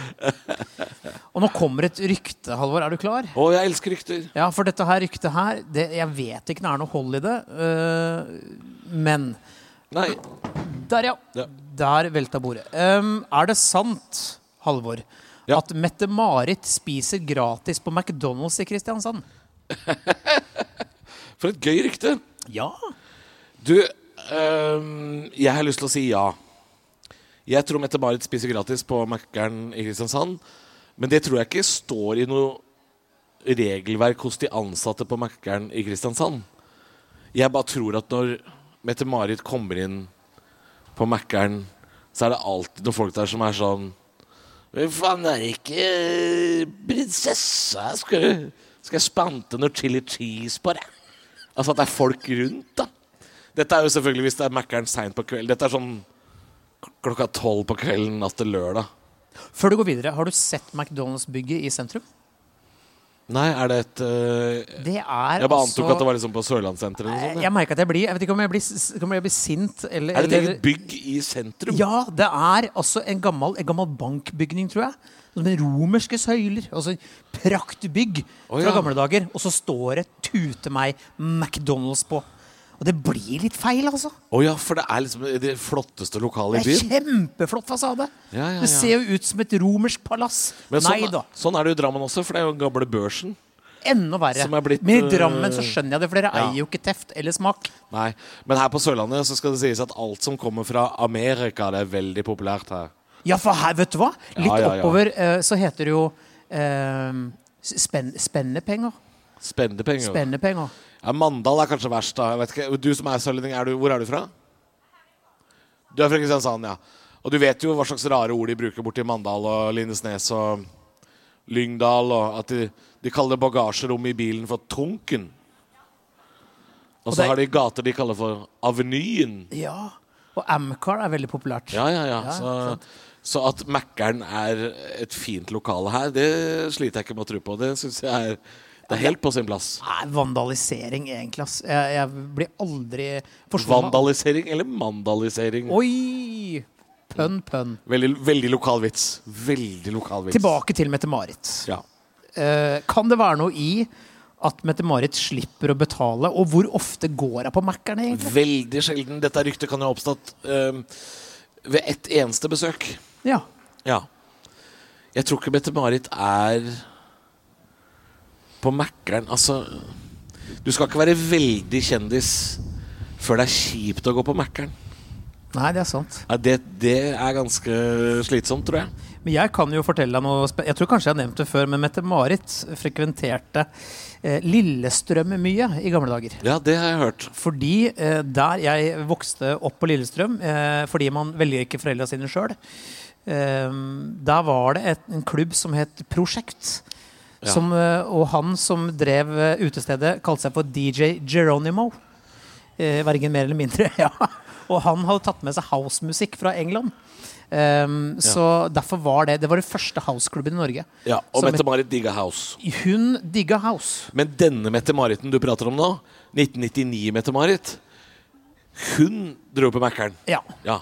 S3: Og nå kommer et rykte, Halvor. Er du klar?
S2: Å, jeg elsker rykter!
S3: Ja, for dette her ryktet her det, Jeg vet ikke om det er noe hold i det. øh, men
S2: Nei.
S3: Der, ja.
S2: Ja.
S3: Der velta bordet. Ehm, er det sant, Halvor,
S2: Ja.
S3: at Mette-Marit spiser gratis på McDonald's i Kristiansand?
S2: For et gøy rykte!
S3: Ja.
S2: Du, øhm, jeg har lyst til å si ja. Jeg tror Mette-Marit spiser gratis på Mækkern i Kristiansand. Men det tror jeg ikke står i noe regelverk hos de ansatte på Mækkern i Kristiansand. Jeg bare tror at når Mette-Marit kommer inn på Mækkern, så er det alltid noen folk der som er sånn Hvem faen er ikke eh, prinsessa? Skal, du- skal jeg spante noe chili cheese på deg? Altså at det er folk rundt, da. Dette er jo selvfølgelig hvis det er Mækkern seint på kvelden. Dette er sånn klokka tolv på kvelden natt til lørdag.
S3: Før du går videre, har du sett McDonald's-bygget i sentrum?
S2: Nei, er det et øh,
S3: Det er
S2: Jeg bare
S3: altså-
S2: antok at det var liksom på Sørlandssenteret eller noe sånt.
S3: Jeg merker at jeg blir Jeg vet ikke om jeg blir, s- om jeg blir sint eller
S2: ja. Er det et
S3: eller-
S2: eget bygg i sentrum?
S3: Ja, det er altså en gammel, en gammel bankbygning, tror jeg. Som med romerske søyler. Altså praktbygg
S2: Å,
S3: fra
S2: ja.
S3: gamle dager. Og så står det tute meg McDonald's på. Og det blir litt feil, altså.
S2: Å ja, for det er liksom det flotteste
S3: Det
S2: lokalet i
S3: er
S2: byen.
S3: kjempeflott fasade.
S2: Ja, ja,
S3: Det
S2: ja.
S3: ser jo ut som et romersk palass.
S2: Men
S3: Nei
S2: sånn,
S3: da.
S2: sånn er det jo i Drammen også, for det er jo den gamle børsen.
S3: Enda verre.
S2: Som er blitt,
S3: Men i Drammen
S2: øh,
S3: så skjønner jeg det, for dere
S2: ja.
S3: eier jo ikke teft eller smak.
S2: Nei, Men her på Sørlandet så skal det sies at alt som kommer fra Amerika, det er veldig populært her.
S3: Ja, for her, vet du hva? Litt
S2: Ja, ja, ja.
S3: oppover eh, så heter det jo eh, spenn, spennepenger.
S2: Spennende penger.
S3: Spennepenger.
S2: Ja, Mandal er kanskje verst, da. Jeg vet ikke. Du som er sørlending, er du, hvor er du fra? Du er fra Kristiansand, ja. Og du vet jo hva slags rare ord de bruker borti Mandal og Lindesnes og Lyngdal, og at de, de kaller bagasjerommet i bilen for Tunken. Og
S3: Og
S2: så
S3: det-
S2: har de gater de kaller for Avenyen.
S3: Ja. Og Amcar er veldig populært.
S2: Ja, ja, ja.
S3: Ja,
S2: Så,
S3: sant.
S2: så at Mækkern er et fint lokale her, det sliter jeg ikke med å tro på. Det syns jeg er, det er helt på sin plass.
S3: Nei, vandalisering, egentlig. Ass. Jeg, jeg blir aldri forstått.
S2: Vandalisering eller mandalisering?
S3: Oi! Pønn, pønn.
S2: Veldig, veldig lokal vits. Veldig lokal vits.
S3: Tilbake til Mette-Marit.
S2: Ja.
S3: Eh, kan det være noe i at Mette-Marit slipper å betale? Og hvor ofte går hun på Mækkern, egentlig?
S2: Veldig sjelden. Dette ryktet kan jo ha oppstått ehm, ved ett eneste besøk.
S3: Ja.
S2: Ja. Jeg tror ikke Mette-Marit er på Mækkern. Altså Du skal ikke være veldig kjendis før det er kjipt å gå på Mækkern.
S3: Nei, det er sant.
S2: Ja, det, det er ganske slitsomt, tror jeg.
S3: Men jeg kan jo fortelle deg noe spe- Jeg tror kanskje jeg har nevnt det før, men Mette-Marit frekventerte eh, Lillestrøm mye i gamle dager.
S2: Ja, det har jeg hørt.
S3: Fordi eh, der jeg vokste opp på Lillestrøm, eh, fordi man velger ikke foreldra sine sjøl, eh, der var det et, en klubb som het Prosjekt.
S2: Ja.
S3: Som, eh, og han som drev eh, utestedet, kalte seg for DJ Geronimo. Eh, vergen mer eller mindre. ja. Og han hadde tatt med seg housemusikk fra England. Eh, Så derfor var det Det var den første houseklubben i Norge.
S2: Ja, og
S3: Som-
S2: Mette-Marit digga House.
S3: Hun digga house.
S2: Men denne Mette-Mariten du prater om nå, 1999-Mette-Marit, hun dro på Mækkern.
S3: Ja.
S2: Ja.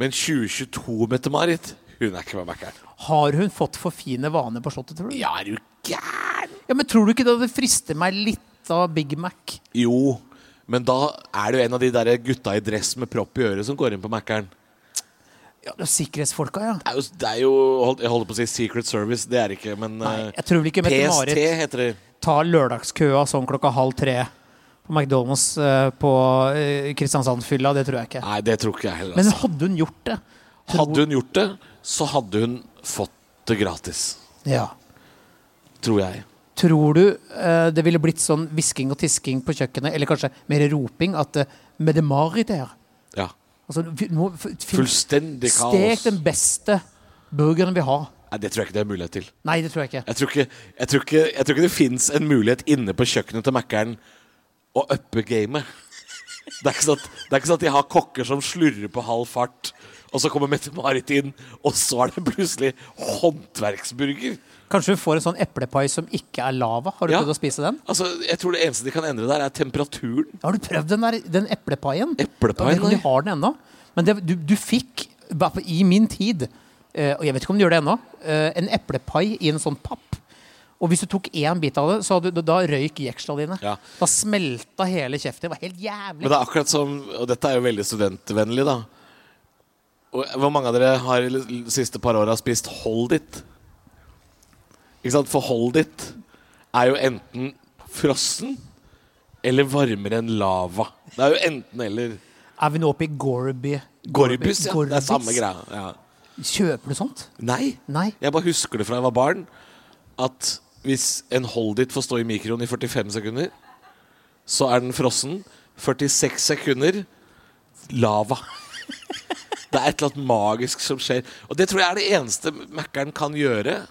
S2: Men 2022-Mette-Marit, hun er ikke på Mækkern.
S3: Har hun fått for fine vaner på Slottet, tror du?
S2: Ja, er du gæren?
S3: Ja, men tror du ikke det hadde fristet meg litt av Big Mac?
S2: Jo, men da er du en av de der gutta i dress med propp i øret som går inn på Mækkern.
S3: Ja, det er Sikkerhetsfolka, ja.
S2: Det er jo, det er jo hold, Jeg holder på å si Secret Service, det er det ikke, men
S3: Nei,
S2: eh,
S3: jeg tror vel ikke
S2: PST
S3: Mette-Marit
S2: heter det.
S3: tar lørdagskøa sånn klokka halv tre på McDonald's eh, på eh, Kristiansandfylla. Det tror jeg ikke.
S2: Nei, det tror ikke jeg heller.
S3: Men
S2: Altså.
S3: hadde hun gjort det? tror-
S2: Hadde hun gjort det, så hadde hun fått det gratis.
S3: Ja.
S2: Tror jeg.
S3: Tror du eh, det ville blitt sånn hvisking og tisking på kjøkkenet, eller kanskje mer roping, at uh, med det marit der
S2: Ja.
S3: altså, vi- nå, f- fin-
S2: Fullstendig kaos.
S3: Stek den beste burgeren vi har.
S2: Nei, det tror jeg ikke det er mulighet til.
S3: Nei, det tror jeg ikke.
S2: Jeg tror ikke, jeg tror ikke, jeg tror ikke det fins en mulighet inne på kjøkkenet til Mækkern å uppe gamet. Det er, ikke sånn at, det er ikke sånn at de har kokker som slurrer på halv fart, og så kommer Mette-Marit inn, og så er det plutselig håndverksburger.
S3: Kanskje hun får en sånn eplepai som ikke er lava. Har du
S2: Ja.
S3: prøvd å spise den?
S2: Altså, Jeg tror det eneste de kan endre der, er temperaturen.
S3: Har du prøvd den, der, den eplepaien?
S2: Eplepaien,
S3: Jeg vet ikke
S2: nei.
S3: om de har den ennå. Men det, du, du fikk, i hvert fall i min tid, eh, og jeg vet ikke om de gjør det ennå, eh, en eplepai i en sånn papp. Og hvis du tok én bit av det, så hadde, du- da røyk jeksla dine.
S2: Ja.
S3: Da smelta hele kjeften. Det var helt jævlig.
S2: Men det er akkurat som Og dette er jo veldig studentvennlig, da. Og hvor mange av dere har i de siste par åra spist Hold It? Ikke sant? For Hold It er jo enten frossen eller varmere enn lava. Det er jo enten eller
S3: Er vi nå oppe i Gorby?
S2: Gorbus, ja. Det er
S3: Gorbis?
S2: samme greia. Ja.
S3: Kjøper du sånt?
S2: Nei.
S3: Nei.
S2: Jeg bare husker det fra jeg var barn, at hvis en Hold It får stå i mikroen i 45 sekunder, så er den frossen. 46 sekunder lava. Det er et eller annet magisk som skjer. Og det tror jeg er det eneste Mækkern kan gjøre,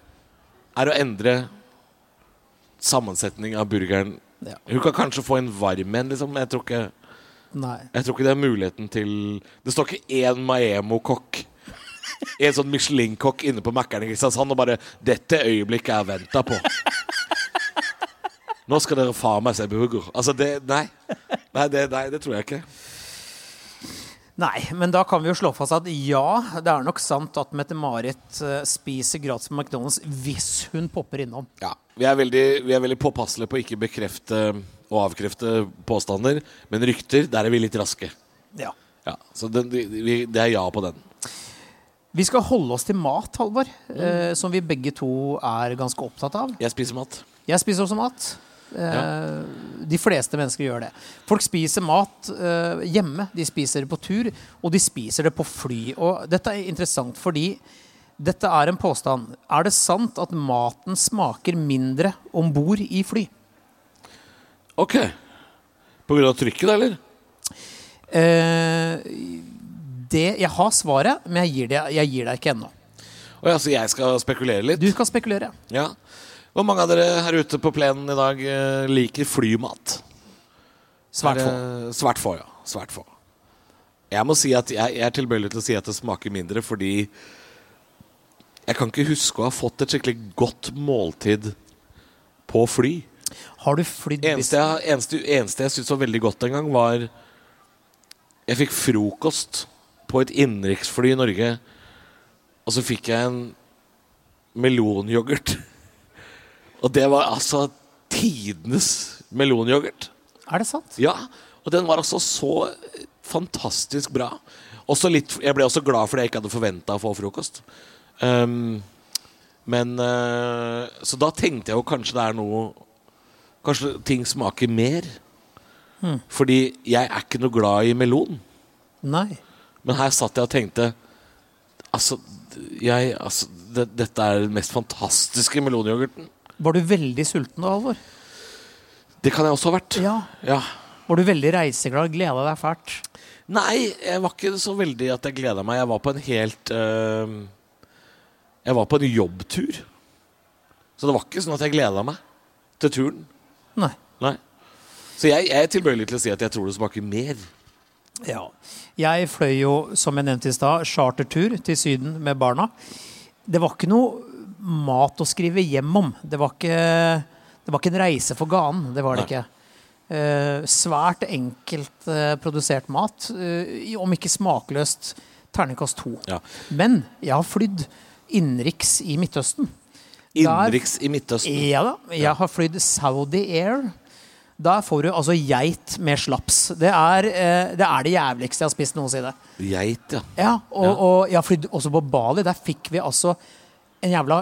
S2: er å endre sammensetning av burgeren.
S3: Ja.
S2: Hun kan kanskje få en varm en, liksom. men Jeg tror ikke
S3: Nei.
S2: Jeg tror ikke det er muligheten til Det står ikke én Maemo-kokk. En sånn Michelin-kokk inne på Mækkern i Kristiansand og bare 'Dette øyeblikket er venta på'. Nå skal dere faen meg se burger. Altså, det Nei. Nei det, nei, det tror jeg ikke.
S3: Nei, men da kan vi jo slå fast at ja, det er nok sant at Mette-Marit eh, spiser gratis på McDonald's hvis hun popper innom.
S2: Ja, vi er veldig, vi er veldig påpasselige på å ikke bekrefte og avkrefte påstander, men rykter, der er vi litt raske.
S3: Ja.
S2: Ja, så den, de- de- vi, det er ja på den.
S3: Vi skal holde oss til mat, Halvor, eh, som vi begge to er ganske opptatt av.
S2: Jeg spiser mat.
S3: Jeg spiser også mat. Eh, De fleste mennesker gjør det. Folk spiser mat eh, hjemme, de spiser det på tur, og de spiser det på fly. Og dette er interessant fordi dette er en påstand. Er det sant at maten smaker mindre om bord i fly?
S2: Ok. På grunn av trykket, da, eller?
S3: Eh, det, jeg har svaret, men jeg gir det, jeg gir det ikke ennå.
S2: Å ja, så jeg skal spekulere litt?
S3: Du kan spekulere.
S2: Ja. Hvor mange av dere her ute på plenen i dag eh, liker flymat?
S3: Svært
S2: Er
S3: få.
S2: det- Svært få, ja. Svært få. Jeg må si at jeg, jeg er tilbøyelig til å si at det smaker mindre, fordi jeg kan ikke huske å ha fått et skikkelig godt måltid på fly.
S3: Har du flydd
S2: Eneste jeg, eneste, eneste jeg syntes var veldig godt en gang, var Jeg fikk frokost på et innenriksfly i Norge, og så fikk jeg en melonyoghurt. Og det var altså tidenes melonyoghurt.
S3: Er det sant?
S2: Ja, og den var altså så fantastisk bra. Også litt, jeg ble også glad fordi jeg ikke hadde forventa å få frokost. Ehm, men eh, Så da tenkte jeg jo kanskje det er noe Kanskje ting smaker mer. Fordi jeg er ikke noe glad i melon.
S3: Nei.
S2: Men her satt jeg og tenkte Altså, jeg, altså det, dette er den mest fantastiske melonyoghurten.
S3: Var du veldig sulten da, Halvor?
S2: Det kan jeg også ha vært.
S3: Ja.
S2: ja.
S3: Var du veldig reiseglad? Gleda deg fælt?
S2: Nei, jeg var ikke så veldig at jeg gleda meg. Jeg var på en helt eh, Jeg var på en jobbtur. Så det var ikke sånn at jeg gleda meg til turen.
S3: Nei.
S2: Nei. Så jeg, jeg er tilbøyelig til å si at jeg tror det smaker mer.
S3: Ja. Jeg fløy jo, som jeg nevnte i stad, chartertur til Syden med barna. Det var ikke noe mat å skrive hjem om. Det var ikke, det var ikke en reise for ganen. Det var det
S2: Nei.
S3: ikke. Eh, svært enkelt eh, produsert mat. eh, i- om ikke smakløst. Terningkast to.
S2: Ja.
S3: Men jeg har flydd innenriks i Midtøsten.
S2: Innenriks i Midtøsten.
S3: Ja da. Jeg har flydd Saudi Air. Der får du altså geit med slaps. Det er eh, det, er det jævligste jeg har spist noensinne.
S2: Geit, ja.
S3: Ja, og, og jeg har flydd også på Bali. Der fikk vi altså en jævla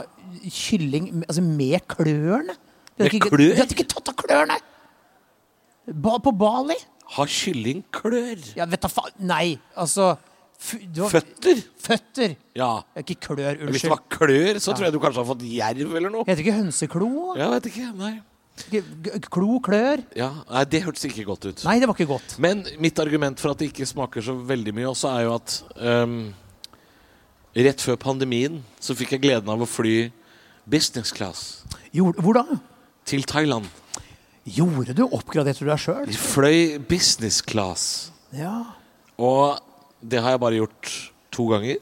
S3: kylling altså med klørne. De hadde
S2: Med
S3: ikke-
S2: klør?
S3: De hadde ikke tatt av klørne! Ba, på Bali?
S2: Har kylling klør?
S3: Ja, vet da faen Nei, altså f, det var-
S2: Føtter?
S3: Føtter!
S2: Ja.
S3: Ikke klør,
S2: Hvis
S3: unnskyld.
S2: det var klør, så tror jeg du kanskje har fått jerv eller noe.
S3: Heter ikke hønseklo?
S2: Jeg vet ikke. Nei.
S3: G- g- Klo, klør?
S2: Ja. Nei, det hørtes ikke godt ut.
S3: Nei, det var ikke godt.
S2: Men mitt argument for at det ikke smaker så veldig mye også, er jo at ehm, rett før pandemien så fikk jeg gleden av å fly business class
S3: Gjorde- Hvor da?
S2: til Thailand.
S3: Gjorde du? Oppgraderte du deg sjøl?
S2: Vi fløy business class,
S3: Ja.
S2: og det har jeg bare gjort to ganger.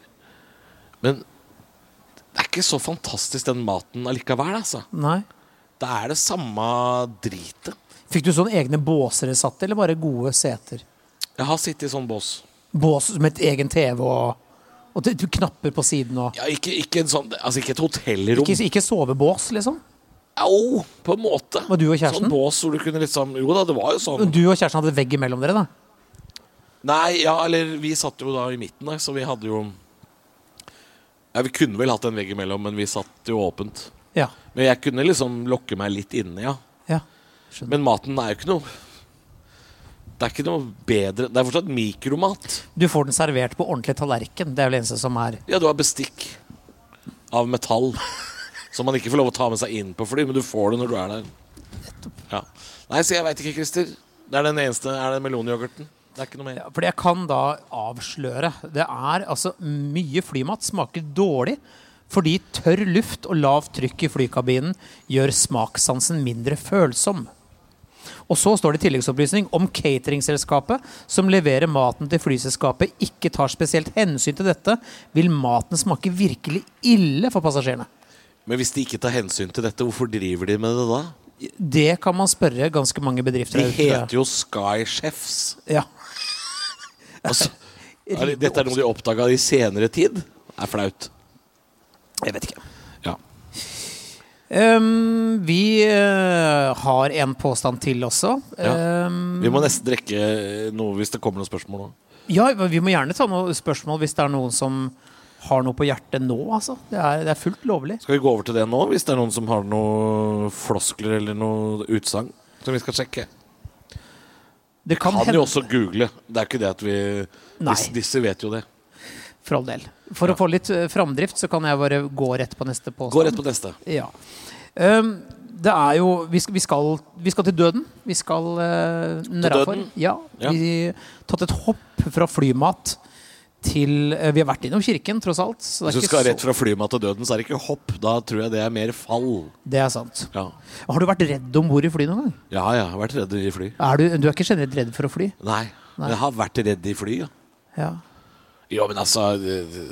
S2: Men det er ikke så fantastisk den maten allikevel, altså.
S3: Nei.
S2: Det er det samme dritet.
S3: Fikk du sånne egne båser dere satt i, eller bare gode seter?
S2: Jeg har sittet i sånn bås.
S3: Bås med et egen TV og, og du, du knapper på siden og
S2: Ja, ikke, ikke, en sånn, altså ikke et hotellrom.
S3: ikke, ikke sovebås, liksom?
S2: Au, på en måte.
S3: Var du og kjæresten?
S2: Sånn bås hvor du kunne liksom Jo da, det var jo
S3: Men
S2: sånn.
S3: Du og kjæresten hadde vegg imellom dere, da?
S2: Nei, ja, eller vi satt jo da i midten der, så vi hadde jo Ja, vi kunne vel hatt en vegg imellom, men vi satt jo åpent.
S3: Ja.
S2: Men jeg kunne liksom lokke meg litt inne, ja.
S3: ja.
S2: Men maten er jo ikke noe Det er ikke noe bedre Det er fortsatt mikromat.
S3: Du får den servert på ordentlig tallerken. Det er vel det eneste som er
S2: Ja, du har bestikk av metall som man ikke får lov å ta med seg inn på fly, men du får det når du er der. Ja. Nei, så jeg veit ikke, Christer. Det er den eneste Er det melonyoghurten. Det er ikke noe mer.
S3: Ja, Fordi jeg kan da avsløre. Det er altså mye flymat smaker dårlig. Fordi tørr luft og lavt trykk i flykabinen gjør smakssansen mindre følsom. Og så står det tilleggsopplysning om cateringselskapet som leverer maten til flyselskapet, ikke tar spesielt hensyn til dette, vil maten smake virkelig ille for passasjerene.
S2: Men hvis de ikke tar hensyn til dette, hvorfor driver de med det da?
S3: Det kan man spørre ganske mange bedrifter
S2: De
S3: om, tror jeg.
S2: heter jo Sky Chefs.
S3: ja.
S2: Altså, er det, dette er noe de oppdaga i senere tid. Det er flaut.
S3: Jeg vet ikke.
S2: Ja.
S3: Ehm, vi eh, har en påstand til også.
S2: Ja.
S3: Ehm,
S2: Vi må nesten drikke noe hvis det kommer noen spørsmål nå.
S3: ja, vi må gjerne ta noen spørsmål hvis det er noen som har noe på hjertet nå. Altså. Det, er, det er fullt lovlig.
S2: Skal vi gå over til det nå, hvis det er noen som har noen floskler eller noe utsagn som vi skal sjekke?
S3: Det kan,
S2: Kan jo
S3: hende,
S2: også google. Det er ikke det at vi
S3: Nei. Altså,
S2: disse, disse vet jo det.
S3: for all del. For å få litt eh, framdrift så kan jeg bare gå rett på neste påstand.
S2: Gå rett på neste.
S3: Ja. Ehm, det er jo vi skal, vi, skal, vi skal til døden. Vi skal uh,
S2: døden?
S3: Ja.
S2: Ja.
S3: Vi har tatt et hopp fra flymat til eh, Vi har vært innom kirken, tross alt. Så det
S2: Hvis
S3: er
S2: du
S3: ikke
S2: skal rett
S3: så,
S2: fra flymat til døden, så er det ikke hopp. Da tror jeg det er mer fall.
S3: det er sant.
S2: Ja,
S3: Har du vært redd om bord i fly noen gang?
S2: ja, ja jeg har vært redd i fly.
S3: Er du, du er ikke generelt redd for å fly?
S2: Nei, men jeg har vært redd i fly, ja.
S3: Ja.
S2: Jo, men altså Det det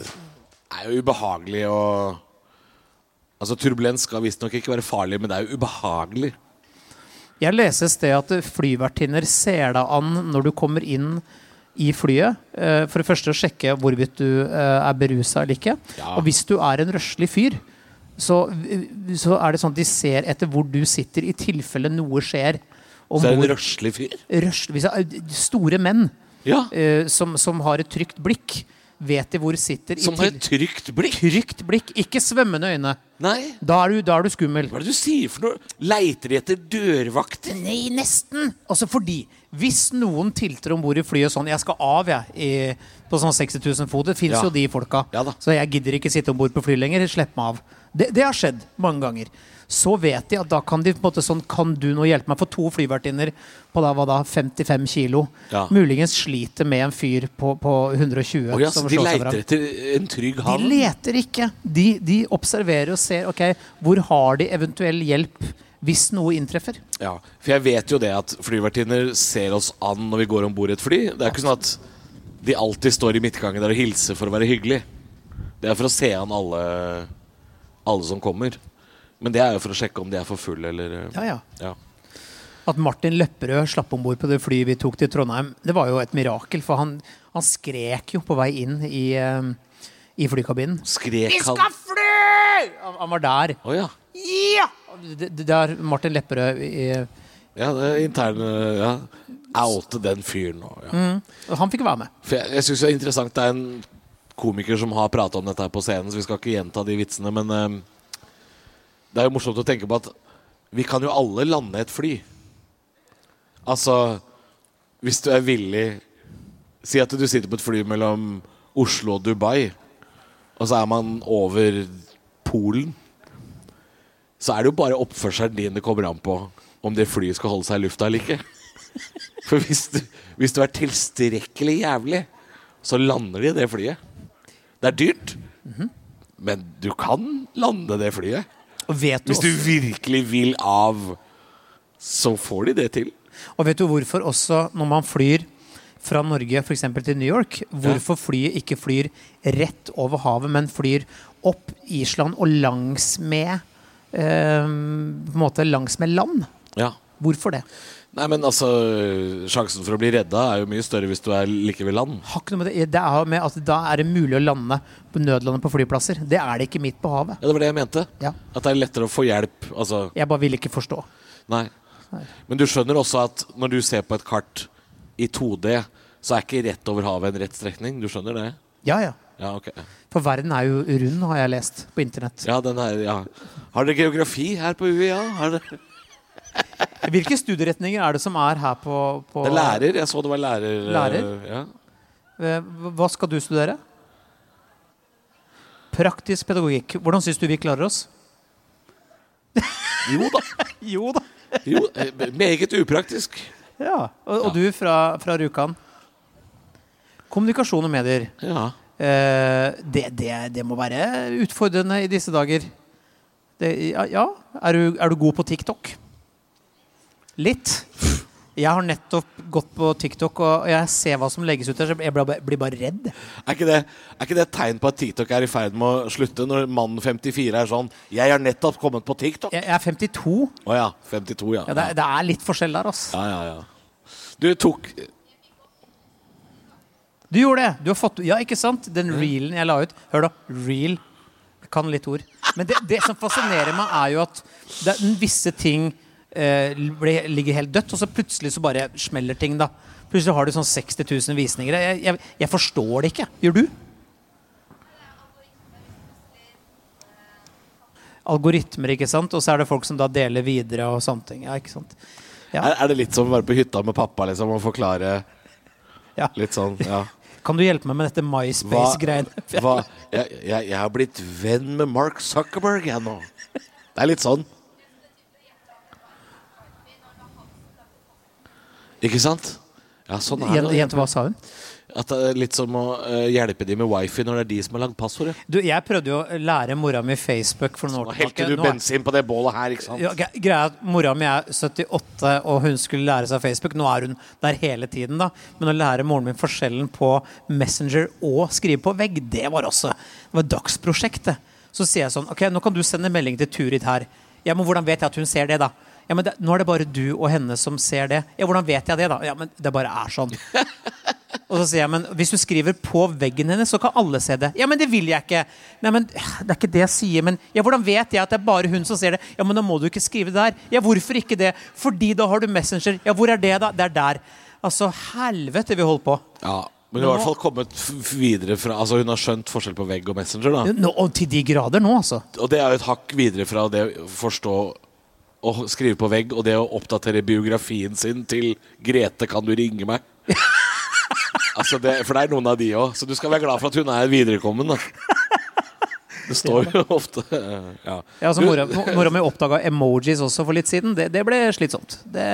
S2: er jo ubehagelig å Altså, turbulens skal visstnok ikke være farlig, men det er jo ubehagelig.
S3: Jeg leste et sted at flyvertinner ser deg an når du kommer inn i flyet. eh, For det første å sjekke hvorvidt du eh, er berusa eller ikke.
S2: Ja.
S3: Og hvis du er en røslig fyr, så, så er det sånn at de ser etter hvor du sitter i tilfelle noe skjer.
S2: Så det er en
S3: Ombord.
S2: røslig fyr.
S3: Røsl- hvis det er Store menn
S2: Ja.
S3: eh, som, som har et trygt blikk, vet de hvor sitter
S2: Som
S3: i
S2: har
S3: til-
S2: et trygt blikk.
S3: Trygt blikk, ikke svømmende øyne.
S2: Nei.
S3: Da er du, da er du skummel.
S2: Hva er det du sier for noe? Leiter de etter dørvakter?
S3: Nei, nesten. Altså fordi Hvis noen tilter om bord i flyet sånn Jeg skal av, jeg. I, på sånn 60 000 fot. Det fins
S2: Ja.
S3: jo de folka.
S2: Ja da.
S3: så jeg gidder ikke sitte om bord på fly lenger. Slipp meg av. Det, det har skjedd mange ganger. Så vet de at da kan de på en måte sånn Kan du nå hjelpe meg? For to flyvertinner på da, hva da, 55 kilo
S2: Ja.
S3: muligens sliter med en fyr på, på 120
S2: Å ja, så
S3: som
S2: de
S3: slår seg
S2: leiter
S3: vrang.
S2: etter en trygg
S3: De
S2: havn?
S3: leter ikke. De, de observerer og ser ok, hvor har de eventuell hjelp hvis noe inntreffer.
S2: Ja, for jeg vet jo det at flyvertinner ser oss an når vi går om bord i et fly. Det er ikke sånn at de alltid står i midtgangen der og hilser for å være hyggelig. Det er for å se an alle, alle som kommer. Men det er jo for å sjekke om de er for fulle eller eh,
S3: Ja, ja.
S2: Ja.
S3: At Martin Lepperød slapp om bord på det flyet vi tok til Trondheim, det var jo et mirakel. For han, han skrek jo på vei inn i, eh, i flykabinen.
S2: Skrek
S3: Vi
S2: han
S3: skal fly! Han, han var der.
S2: Å ja.
S3: Ja! Det, det er Martin Lepperød i-
S2: Ja, det er interne ja. Oute den fyren nå. Ja.
S3: Han fikk være med.
S2: For jeg, jeg syns det er interessant Det er en komiker som har prata om dette her på scenen, så vi skal ikke gjenta de vitsene, men eh, det er jo morsomt å tenke på at vi kan jo alle lande et fly. Altså Hvis du er villig Si at du sitter på et fly mellom Oslo og Dubai, og så er man over Polen. Så er det jo bare oppførselen din det kommer an på om det flyet skal holde seg i lufta eller ikke. For hvis du, hvis du er tilstrekkelig jævlig, så lander de det flyet. Det er dyrt, men du kan lande det flyet.
S3: Og vet du,
S2: Hvis du
S3: også,
S2: virkelig vil av, så får de det til.
S3: og vet du hvorfor også når man flyr fra Norge f.eks. til New York, hvorfor flyet ikke flyr rett over havet, men flyr opp Island og langs med eh, På en måte langs med land?
S2: Ja.
S3: Hvorfor det?
S2: Nei, men altså, sjansen for å bli redda er jo mye større hvis du er like ved land.
S3: har ikke noe med det. det er med at da er det mulig å lande på nødlande på flyplasser. Det er det ikke midt på havet.
S2: Ja, det var det jeg mente.
S3: Ja.
S2: At det er lettere å få hjelp. Altså,
S3: Jeg bare vil ikke forstå.
S2: nei.
S3: Nei.
S2: Men du skjønner også at når du ser på et kart i 2D, så er ikke rett over havet en rett strekning. Du skjønner det?
S3: Ja, ja.
S2: Ja, ok.
S3: For verden er jo rund, har jeg lest på internett.
S2: Ja, den er, ja. Har dere geografi her på UiA? Har dere-
S3: Hvilke studieretninger er det som er her på, på
S2: Det er lærer. Jeg så det var lærer. eh,
S3: Lærer?
S2: Ja.
S3: Eh, Hva skal du studere? Praktisk pedagogikk. Hvordan syns du vi klarer oss?
S2: Jo da.
S3: Jo da.
S2: Jo, eh, meget upraktisk.
S3: Ja. Og, og du fra, fra Rjukan? Kommunikasjon og medier.
S2: Ja.
S3: Eh, det, det, det må være utfordrende i disse dager. Det, ja, ja. Er, du, er du god på TikTok? Litt. Jeg har nettopp gått på TikTok, og jeg ser hva som legges ut der. Så jeg blir bare- blir bare redd.
S2: Er ikke, det, er ikke det et tegn på at TikTok er i ferd med å slutte, når mannen 54 er sånn 'Jeg har nettopp kommet på TikTok'? Å
S3: Jeg jeg er 52.
S2: ja. 52, ja.
S3: Ja, det, er, det er litt forskjell der, ass.
S2: ja, ja, ja. Du tok
S3: Du gjorde det! Du har fått, ja, ikke sant? Den reelen jeg la ut. Hør, da. Reel. Jeg kan litt ord. Men det, det som fascinerer meg, er jo at det er visse ting eh, ble, ligger helt dødt, og så plutselig så bare smeller ting, da. Plutselig har du sånn 60 000 visninger. Jeg, jeg, jeg forstår det ikke. Gjør du? Algoritmer, ikke sant? Og så er det folk som da deler videre og sånne ting. Ja, ikke sant? Ja.
S2: er, er det litt som å være på hytta med pappa liksom, og forklare
S3: Ja.
S2: litt sånn ja.
S3: Kan du hjelpe meg med dette MySpace-greiene?
S2: hva, jeg, jeg, jeg har blitt venn med Mark Zuckerberg, jeg nå. Det er litt sånn. Ikke sant? Ja, sånn er
S3: Jen-
S2: det.
S3: Jente, hva sa hun?
S2: At det er litt som å eh, hjelpe de med wifi når det er de som har lagd passordet.
S3: Du, jeg prøvde jo å lære mora mi Facebook for noen
S2: Nå
S3: år
S2: helte
S3: tilbake.
S2: du
S3: Nå er-
S2: bensin på det bålet her, ikke sant?
S3: Ja, gre- greia er at Mora mi er 78, og hun skulle lære seg Facebook. Nå er hun der hele tiden. da Men å lære moren min forskjellen på Messenger og skrive på vegg, det var også Det var dagsprosjektet. Så sier jeg sånn Ok, nå kan du sende melding til Turid her. Ja, men hvordan vet jeg at hun ser det, da? Ja, men det, Nå er det bare du og henne som ser det. Ja, hvordan vet jeg det, da? Ja, men det bare er sånn. Og så sier jeg, men hvis du skriver på veggen hennes, så kan alle se det. Ja, men det vil jeg ikke. Nei, men det er ikke det jeg sier. Men ja, hvordan vet jeg at det er bare hun som ser det? Ja, men da må du ikke skrive det der. Ja, hvorfor ikke det? Fordi da har du Messenger. Ja, hvor er det da? Det er der. Altså, helvete vi holder på.
S2: Ja, men hun har i hvert fall kommet f- f- videre fra Altså, hun har skjønt forskjell på vegg og Messenger, da.
S3: Nå, og til de grader nå, altså.
S2: Og det er jo et hakk videre fra det å forstå å skrive på vegg og det å oppdatere biografien sin til 'Grete, kan du ringe meg?' altså det, for det er noen av de òg, så du skal være glad for at hun er viderekommen. Da. Det står jo ofte eh, ja.
S3: Ja, altså,
S2: Du-
S3: mora, mora mi oppdaga emojis også for litt siden. Det, det ble slitsomt. Det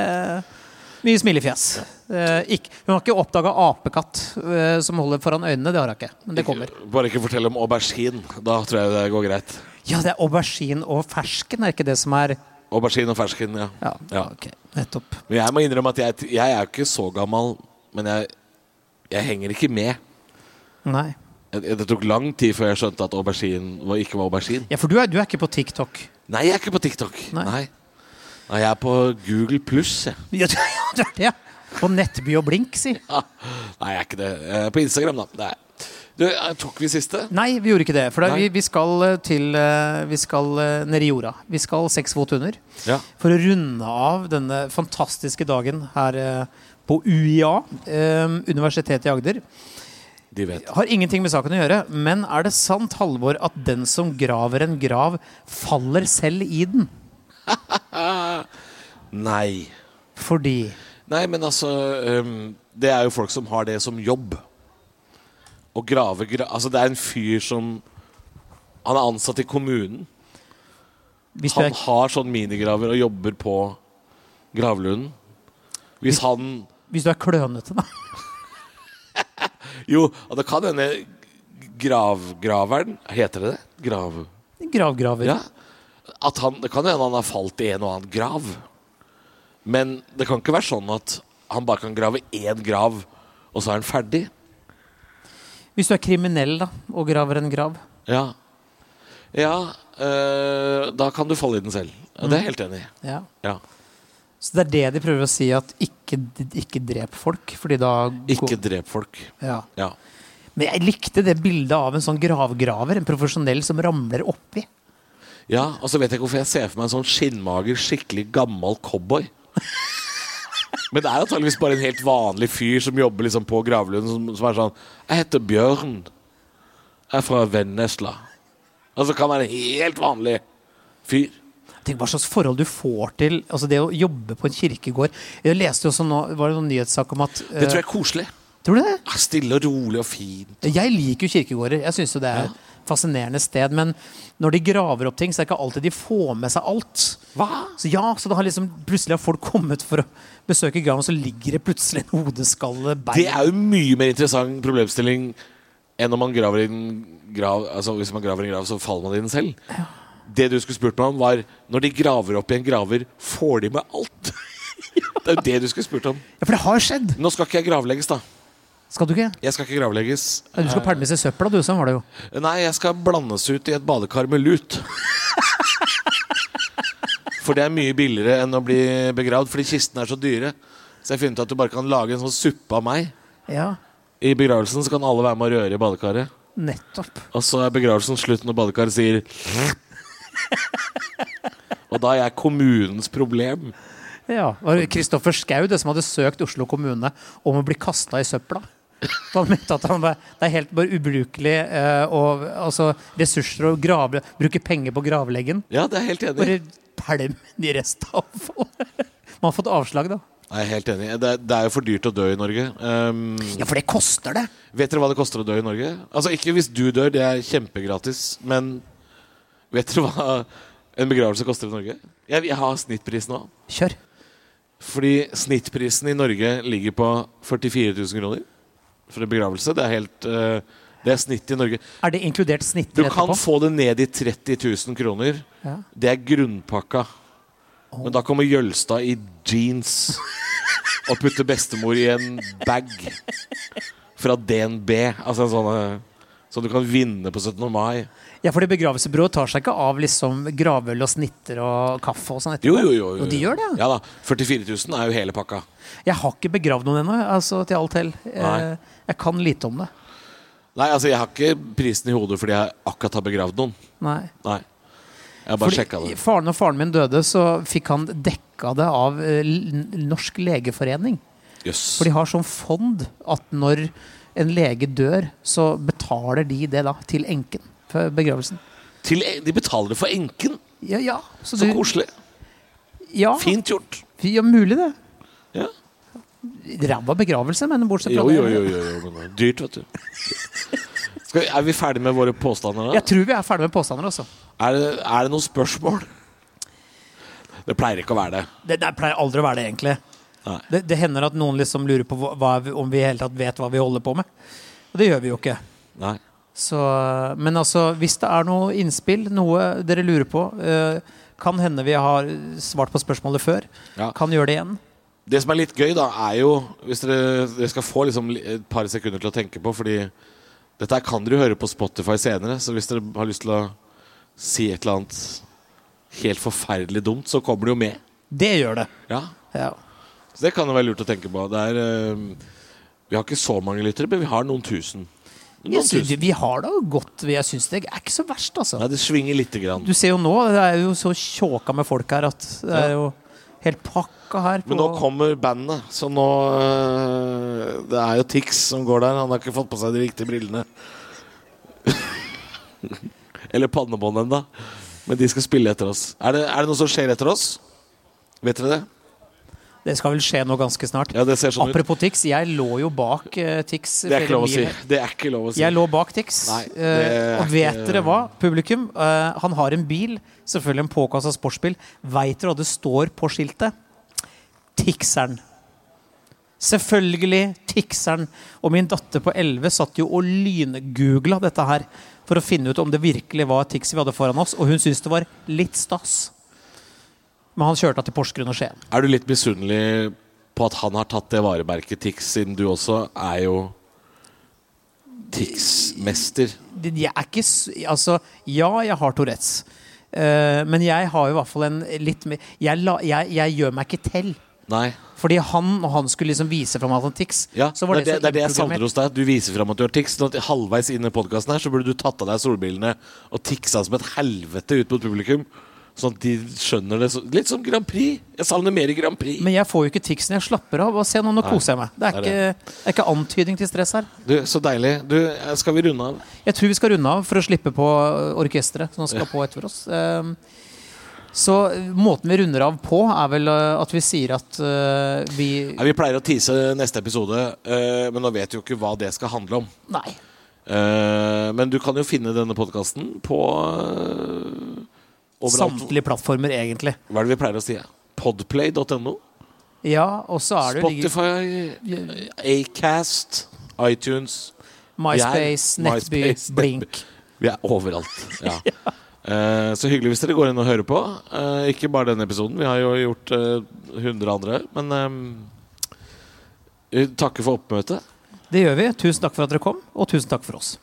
S3: Mye smilefjes. Eh, ikke, hun har ikke oppdaga apekatt eh, som holder foran øynene. Det har hun ikke. Men det kommer.
S2: Bare ikke fortell om aubergine. Da tror jeg det går greit.
S3: Ja, det er aubergine og fersken, er ikke det som er
S2: Aubergine og fersken, ja.
S3: Ja,
S2: Ja.
S3: ok, nettopp.
S2: Men jeg må innrømme at jeg, jeg er jo ikke så gammel, men jeg, jeg henger ikke med.
S3: Nei.
S2: Det det tok lang tid før jeg skjønte at aubergine var- ikke var aubergine.
S3: Ja, for du er, du er ikke på TikTok.
S2: Nei, jeg er ikke på TikTok.
S3: Nei.
S2: Nei. Nei, jeg er på Google pluss, jeg.
S3: Ja, du du er det. På Nettby og Blink, si.
S2: Ja. Nei, jeg er ikke det. Jeg er på Instagram, da. Nei. Du, eh, tok vi siste?
S3: Nei, vi gjorde ikke det. For da,
S2: Nei.
S3: vi, vi skal eh, til eh, Vi skal eh, ned i jorda. Vi skal seks fot under.
S2: Ja.
S3: For å runde av denne fantastiske dagen her eh, på UiA, eh, Universitetet i Agder.
S2: De vet.
S3: Har ingenting med saken å gjøre, men er det sant, Halvor, at den som graver en grav, faller selv i den?
S2: Nei.
S3: Fordi
S2: Nei, men altså ehm, Det er jo folk som har det som jobb. Å grave gra... Altså, det er en fyr som Han er ansatt i kommunen.
S3: hvis du
S2: Han
S3: er,
S2: har sånn minigraver og jobber på gravlunden. Hvis han
S3: hvis du er klønete, da.
S2: Jo, og det kan hende gravgraveren Heter det det? Grav...
S3: Gravgraver.
S2: Ja. At han, det kan hende han har falt i en og annen grav. Men det kan ikke være sånn at han bare kan grave én grav, og så er han ferdig.
S3: Hvis du er kriminell da, og graver en grav.
S2: Ja, ja øh, da kan du falle i den selv. Ja, det er jeg helt enig i.
S3: Ja.
S2: Ja.
S3: Så det er det de prøver å si, at ikke, ikke drep folk. Fordi da
S2: Ikke drep folk.
S3: ja.
S2: Ja.
S3: Men jeg likte det bildet av en sånn gravgraver, en profesjonell som ramler oppi.
S2: ja, og så vet jeg ikke hvorfor jeg ser for meg en sånn skinnmager, skikkelig gammel cowboy. Men det er antakeligvis bare en helt vanlig fyr som jobber liksom på gravlunden, som, som er sånn Jeg heter Bjørn. Jeg er fra Vennesla. Altså kan være en helt vanlig fyr.
S3: Tenk hva slags forhold du får til altså det å jobbe på en kirkegård. Jeg leste jo også nå, var det noen nyhetssak om at eh,
S2: Det tror jeg er koselig.
S3: Tror du det?
S2: Ja, Stille og rolig og fint.
S3: Jeg liker jo kirkegårder. Jeg syns jo det er et fascinerende sted. Men når de graver opp ting, så er det ikke alltid de får med seg alt.
S2: Hva?
S3: Så ja, så det har liksom plutselig har folk kommet for å besøke graven, så ligger det plutselig en hodeskalle,
S2: Det
S3: bein
S2: er jo en mye mer interessant problemstilling enn om man graver i en grav Altså hvis man graver i en grav, så faller man i den selv. Det du skulle spurt meg om, var når de graver opp i en graver, får de med alt? Det er jo det du skulle spurt om.
S3: Ja, for det har skjedd!
S2: Nå skal ikke jeg gravlegges, da.
S3: Skal du ikke?
S2: Jeg skal ikke gravlegges.
S3: Ja, Du skal pælmes i søpla, du. Sånn var det jo.
S2: Nei, jeg skal blandes ut i et badekar med lut. For det er mye billigere enn å bli begravd, fordi kistene er så dyre. Så jeg har funnet ut at du bare kan lage en sånn suppe av meg.
S3: Ja,
S2: I begravelsen så kan alle være med å røre i badekaret.
S3: nettopp.
S2: Og så er begravelsen slutt når badekaret sier Og da er jeg kommunens problem.
S3: Ja, det var Kristoffer Schau det som hadde søkt Oslo kommune om å bli kasta i søpla. For han mente at han var, det er helt bare ubrukelig eh, å- altså, ressurser å grave, bruke penger på gravleggen.
S2: Ja, det er jeg helt enig. i.
S3: Bare pælm i restavfallet. Man har fått avslag, da.
S2: Jeg er helt enig. i. Det, er- det er jo for dyrt å dø i Norge. Um,
S3: Ja, for det koster det!
S2: vet dere hva det koster å dø i Norge? Altså, ikke hvis du dør, det er kjempegratis, men vet dere hva en begravelse koster i Norge? Jeg, jeg har snittpris nå.
S3: Kjør.
S2: Fordi snittprisen i Norge ligger på 44 000 kroner for en begravelse. Det er helt eh, Det er snitt i Norge.
S3: Er det inkludert snitter
S2: Du kan
S3: etterpå?
S2: få det ned i 30 000 kroner.
S3: Ja.
S2: Det er grunnpakka. Men da kommer Jølstad i jeans og putter bestemor i en bag fra DNB. Altså en sånn eh, som du kan vinne på 17. mai.
S3: Ja, fordi begravelsebyrået tar seg ikke av liksom gravøl og snitter og kaffe og sånn etterpå.
S2: Jo, jo, jo. jo.
S3: Og de gjør det, ja.
S2: Ja da. 44 000 er jo hele pakka.
S3: Jeg har ikke begravd noen ennå, altså, til alt hell. Eh,
S2: Nei.
S3: jeg kan lite om det.
S2: Nei, altså jeg har ikke prisen i hodet fordi jeg akkurat har begravd noen.
S3: Nei.
S2: Nei. Jeg har bare sjekka det.
S3: Faren og faren min døde, så fikk han dekka det av eh, L- Norsk legeforening.
S2: Jøss.
S3: For de har sånn fond at når en lege dør, så betaler de det da til enken for begravelsen.
S2: Til- De betaler det for enken.
S3: Ja, ja. Så
S2: Så
S3: du-
S2: koselig.
S3: Ja,
S2: Fint gjort.
S3: ja mulig det.
S2: Ja.
S3: Ræva begravelse, men bortsett fra
S2: Jo,
S3: det.
S2: jo, jo, jo, jo men det er dyrt, vet du. Skal, vi- er vi ferdige med våre påstander? da?
S3: Jeg tror vi er ferdig med påstander, altså.
S2: Er det, er det noen spørsmål? Det pleier ikke å være det.
S3: Det, det pleier aldri å være det, egentlig.
S2: Nei.
S3: Det, det hender at noen liksom lurer på hva, hva, vi- om vi i hele tatt vet hva vi holder på med. Og det gjør vi jo ikke.
S2: Nei.
S3: Så, men altså, hvis det er noe innspill, noe dere lurer på eh, Kan hende vi har svart på spørsmålet før.
S2: Ja.
S3: Kan gjøre det igjen.
S2: Det som er litt gøy, da, er jo Hvis dere, dere skal få liksom li- et par sekunder til å tenke på, fordi dette her kan dere jo høre på Spotify senere, så hvis dere har lyst til å si et eller annet helt forferdelig dumt, så kommer det jo med.
S3: Det gjør det.
S2: Ja.
S3: Ja.
S2: Så det kan jo være lurt å tenke på. Det er, eh, vi har ikke så mange lyttere, men vi har noen tusen. Noen
S3: Jeg synes,
S2: tusen.
S3: vi har det jo godt. Jeg syns det er ikke så verst, altså.
S2: Nei, det svinger lite grann.
S3: Du ser jo nå, det er jo så tjåka med folk her at det er jo helt pakka her. På,
S2: Men nå kommer bandet, så nå øh, Det er jo Tix som går der. Han har ikke fått på seg de riktige brillene. Eller pannebånd ennå. Men de skal spille etter oss. Er det, er det noe som skjer etter oss? Vet dere det?
S3: Det skal vel skje nå ganske snart.
S2: Ja, det ser sånn ut.
S3: Apropos Tix, jeg lå jo bak eh, Tix.
S2: Det er
S3: flere
S2: ikke lov å
S3: mil
S2: si.
S3: her.
S2: Det er ikke lov å si.
S3: Jeg lå bak Tix.
S2: Nei, det
S3: eh,
S2: er
S3: og vet
S2: ikke-
S3: dere hva, publikum? Eh, han har en bil, selvfølgelig en påkasta sportsbil. Veit dere hva det står på skiltet? Tixeren. Selvfølgelig Tixeren. Og min datter på 11 satt jo og lyngoogla dette her for å finne ut om det virkelig var Tix vi hadde foran oss, og hun syntes det var litt stas. Men han kjørte da til Porsgrunn og Skien.
S2: Er du litt misunnelig på at han har tatt det varemerket Tix, siden du også er jo Tix-mester?
S3: Det- Jeg er ikke s- Altså, ja, jeg har Tourettes. Eh, men jeg har jo i hvert fall en litt mer jeg, la, jeg, jeg gjør meg ikke til.
S2: Nei.
S3: Fordi han, når han skulle liksom vise fram Atlantics,
S2: Ja,
S3: så var det,
S2: det, er det, det er det jeg
S3: så
S2: savner
S3: innprogrammert.
S2: hos deg. at Du viser fram at du har Tix. Sånn at halvveis inn i podkasten her så burde du tatt av deg solbrillene og tiksa som et helvete ut mot publikum. Sånn at de skjønner det. så- Litt som Grand Prix. Jeg savner mer i Grand Prix.
S3: Men jeg får jo ikke Tixen. Jeg slapper av. Og se nå, nå koser jeg meg. Det
S2: det
S3: er,
S2: er
S3: ikke, det er ikke antydning til stress her.
S2: Du, så deilig. Du, eh, skal vi runde av?
S3: Jeg tror vi skal runde av for å slippe på øh, orkesteret som skal på etter oss. Ehm, Så øh, måten vi runder av på, er vel øh, at vi sier at øh, vi
S2: Nei, vi pleier å tease neste episode, eh, men nå vet vi jo ikke hva det skal handle om.
S3: Nei.
S2: Eh, men du kan jo finne denne podkasten på eh, overalt.
S3: Samtlige plattformer, egentlig.
S2: Hva er det vi pleier å si? Podplay.no?
S3: Ja, og så er det jo ligger-
S2: Spotify? Acast? iTunes?
S3: MySpace,
S2: Vi er-
S3: Nettby,
S2: MySpace,
S3: Blink.
S2: Vi er overalt. Ja. Eh, Så hyggelig hvis dere går inn og hører på. Eh, Ikke bare denne episoden, vi har jo gjort eh, 100 andre. Men eh, vi takker for oppmøtet.
S3: Det gjør vi. Tusen takk for at dere kom, og tusen takk for oss.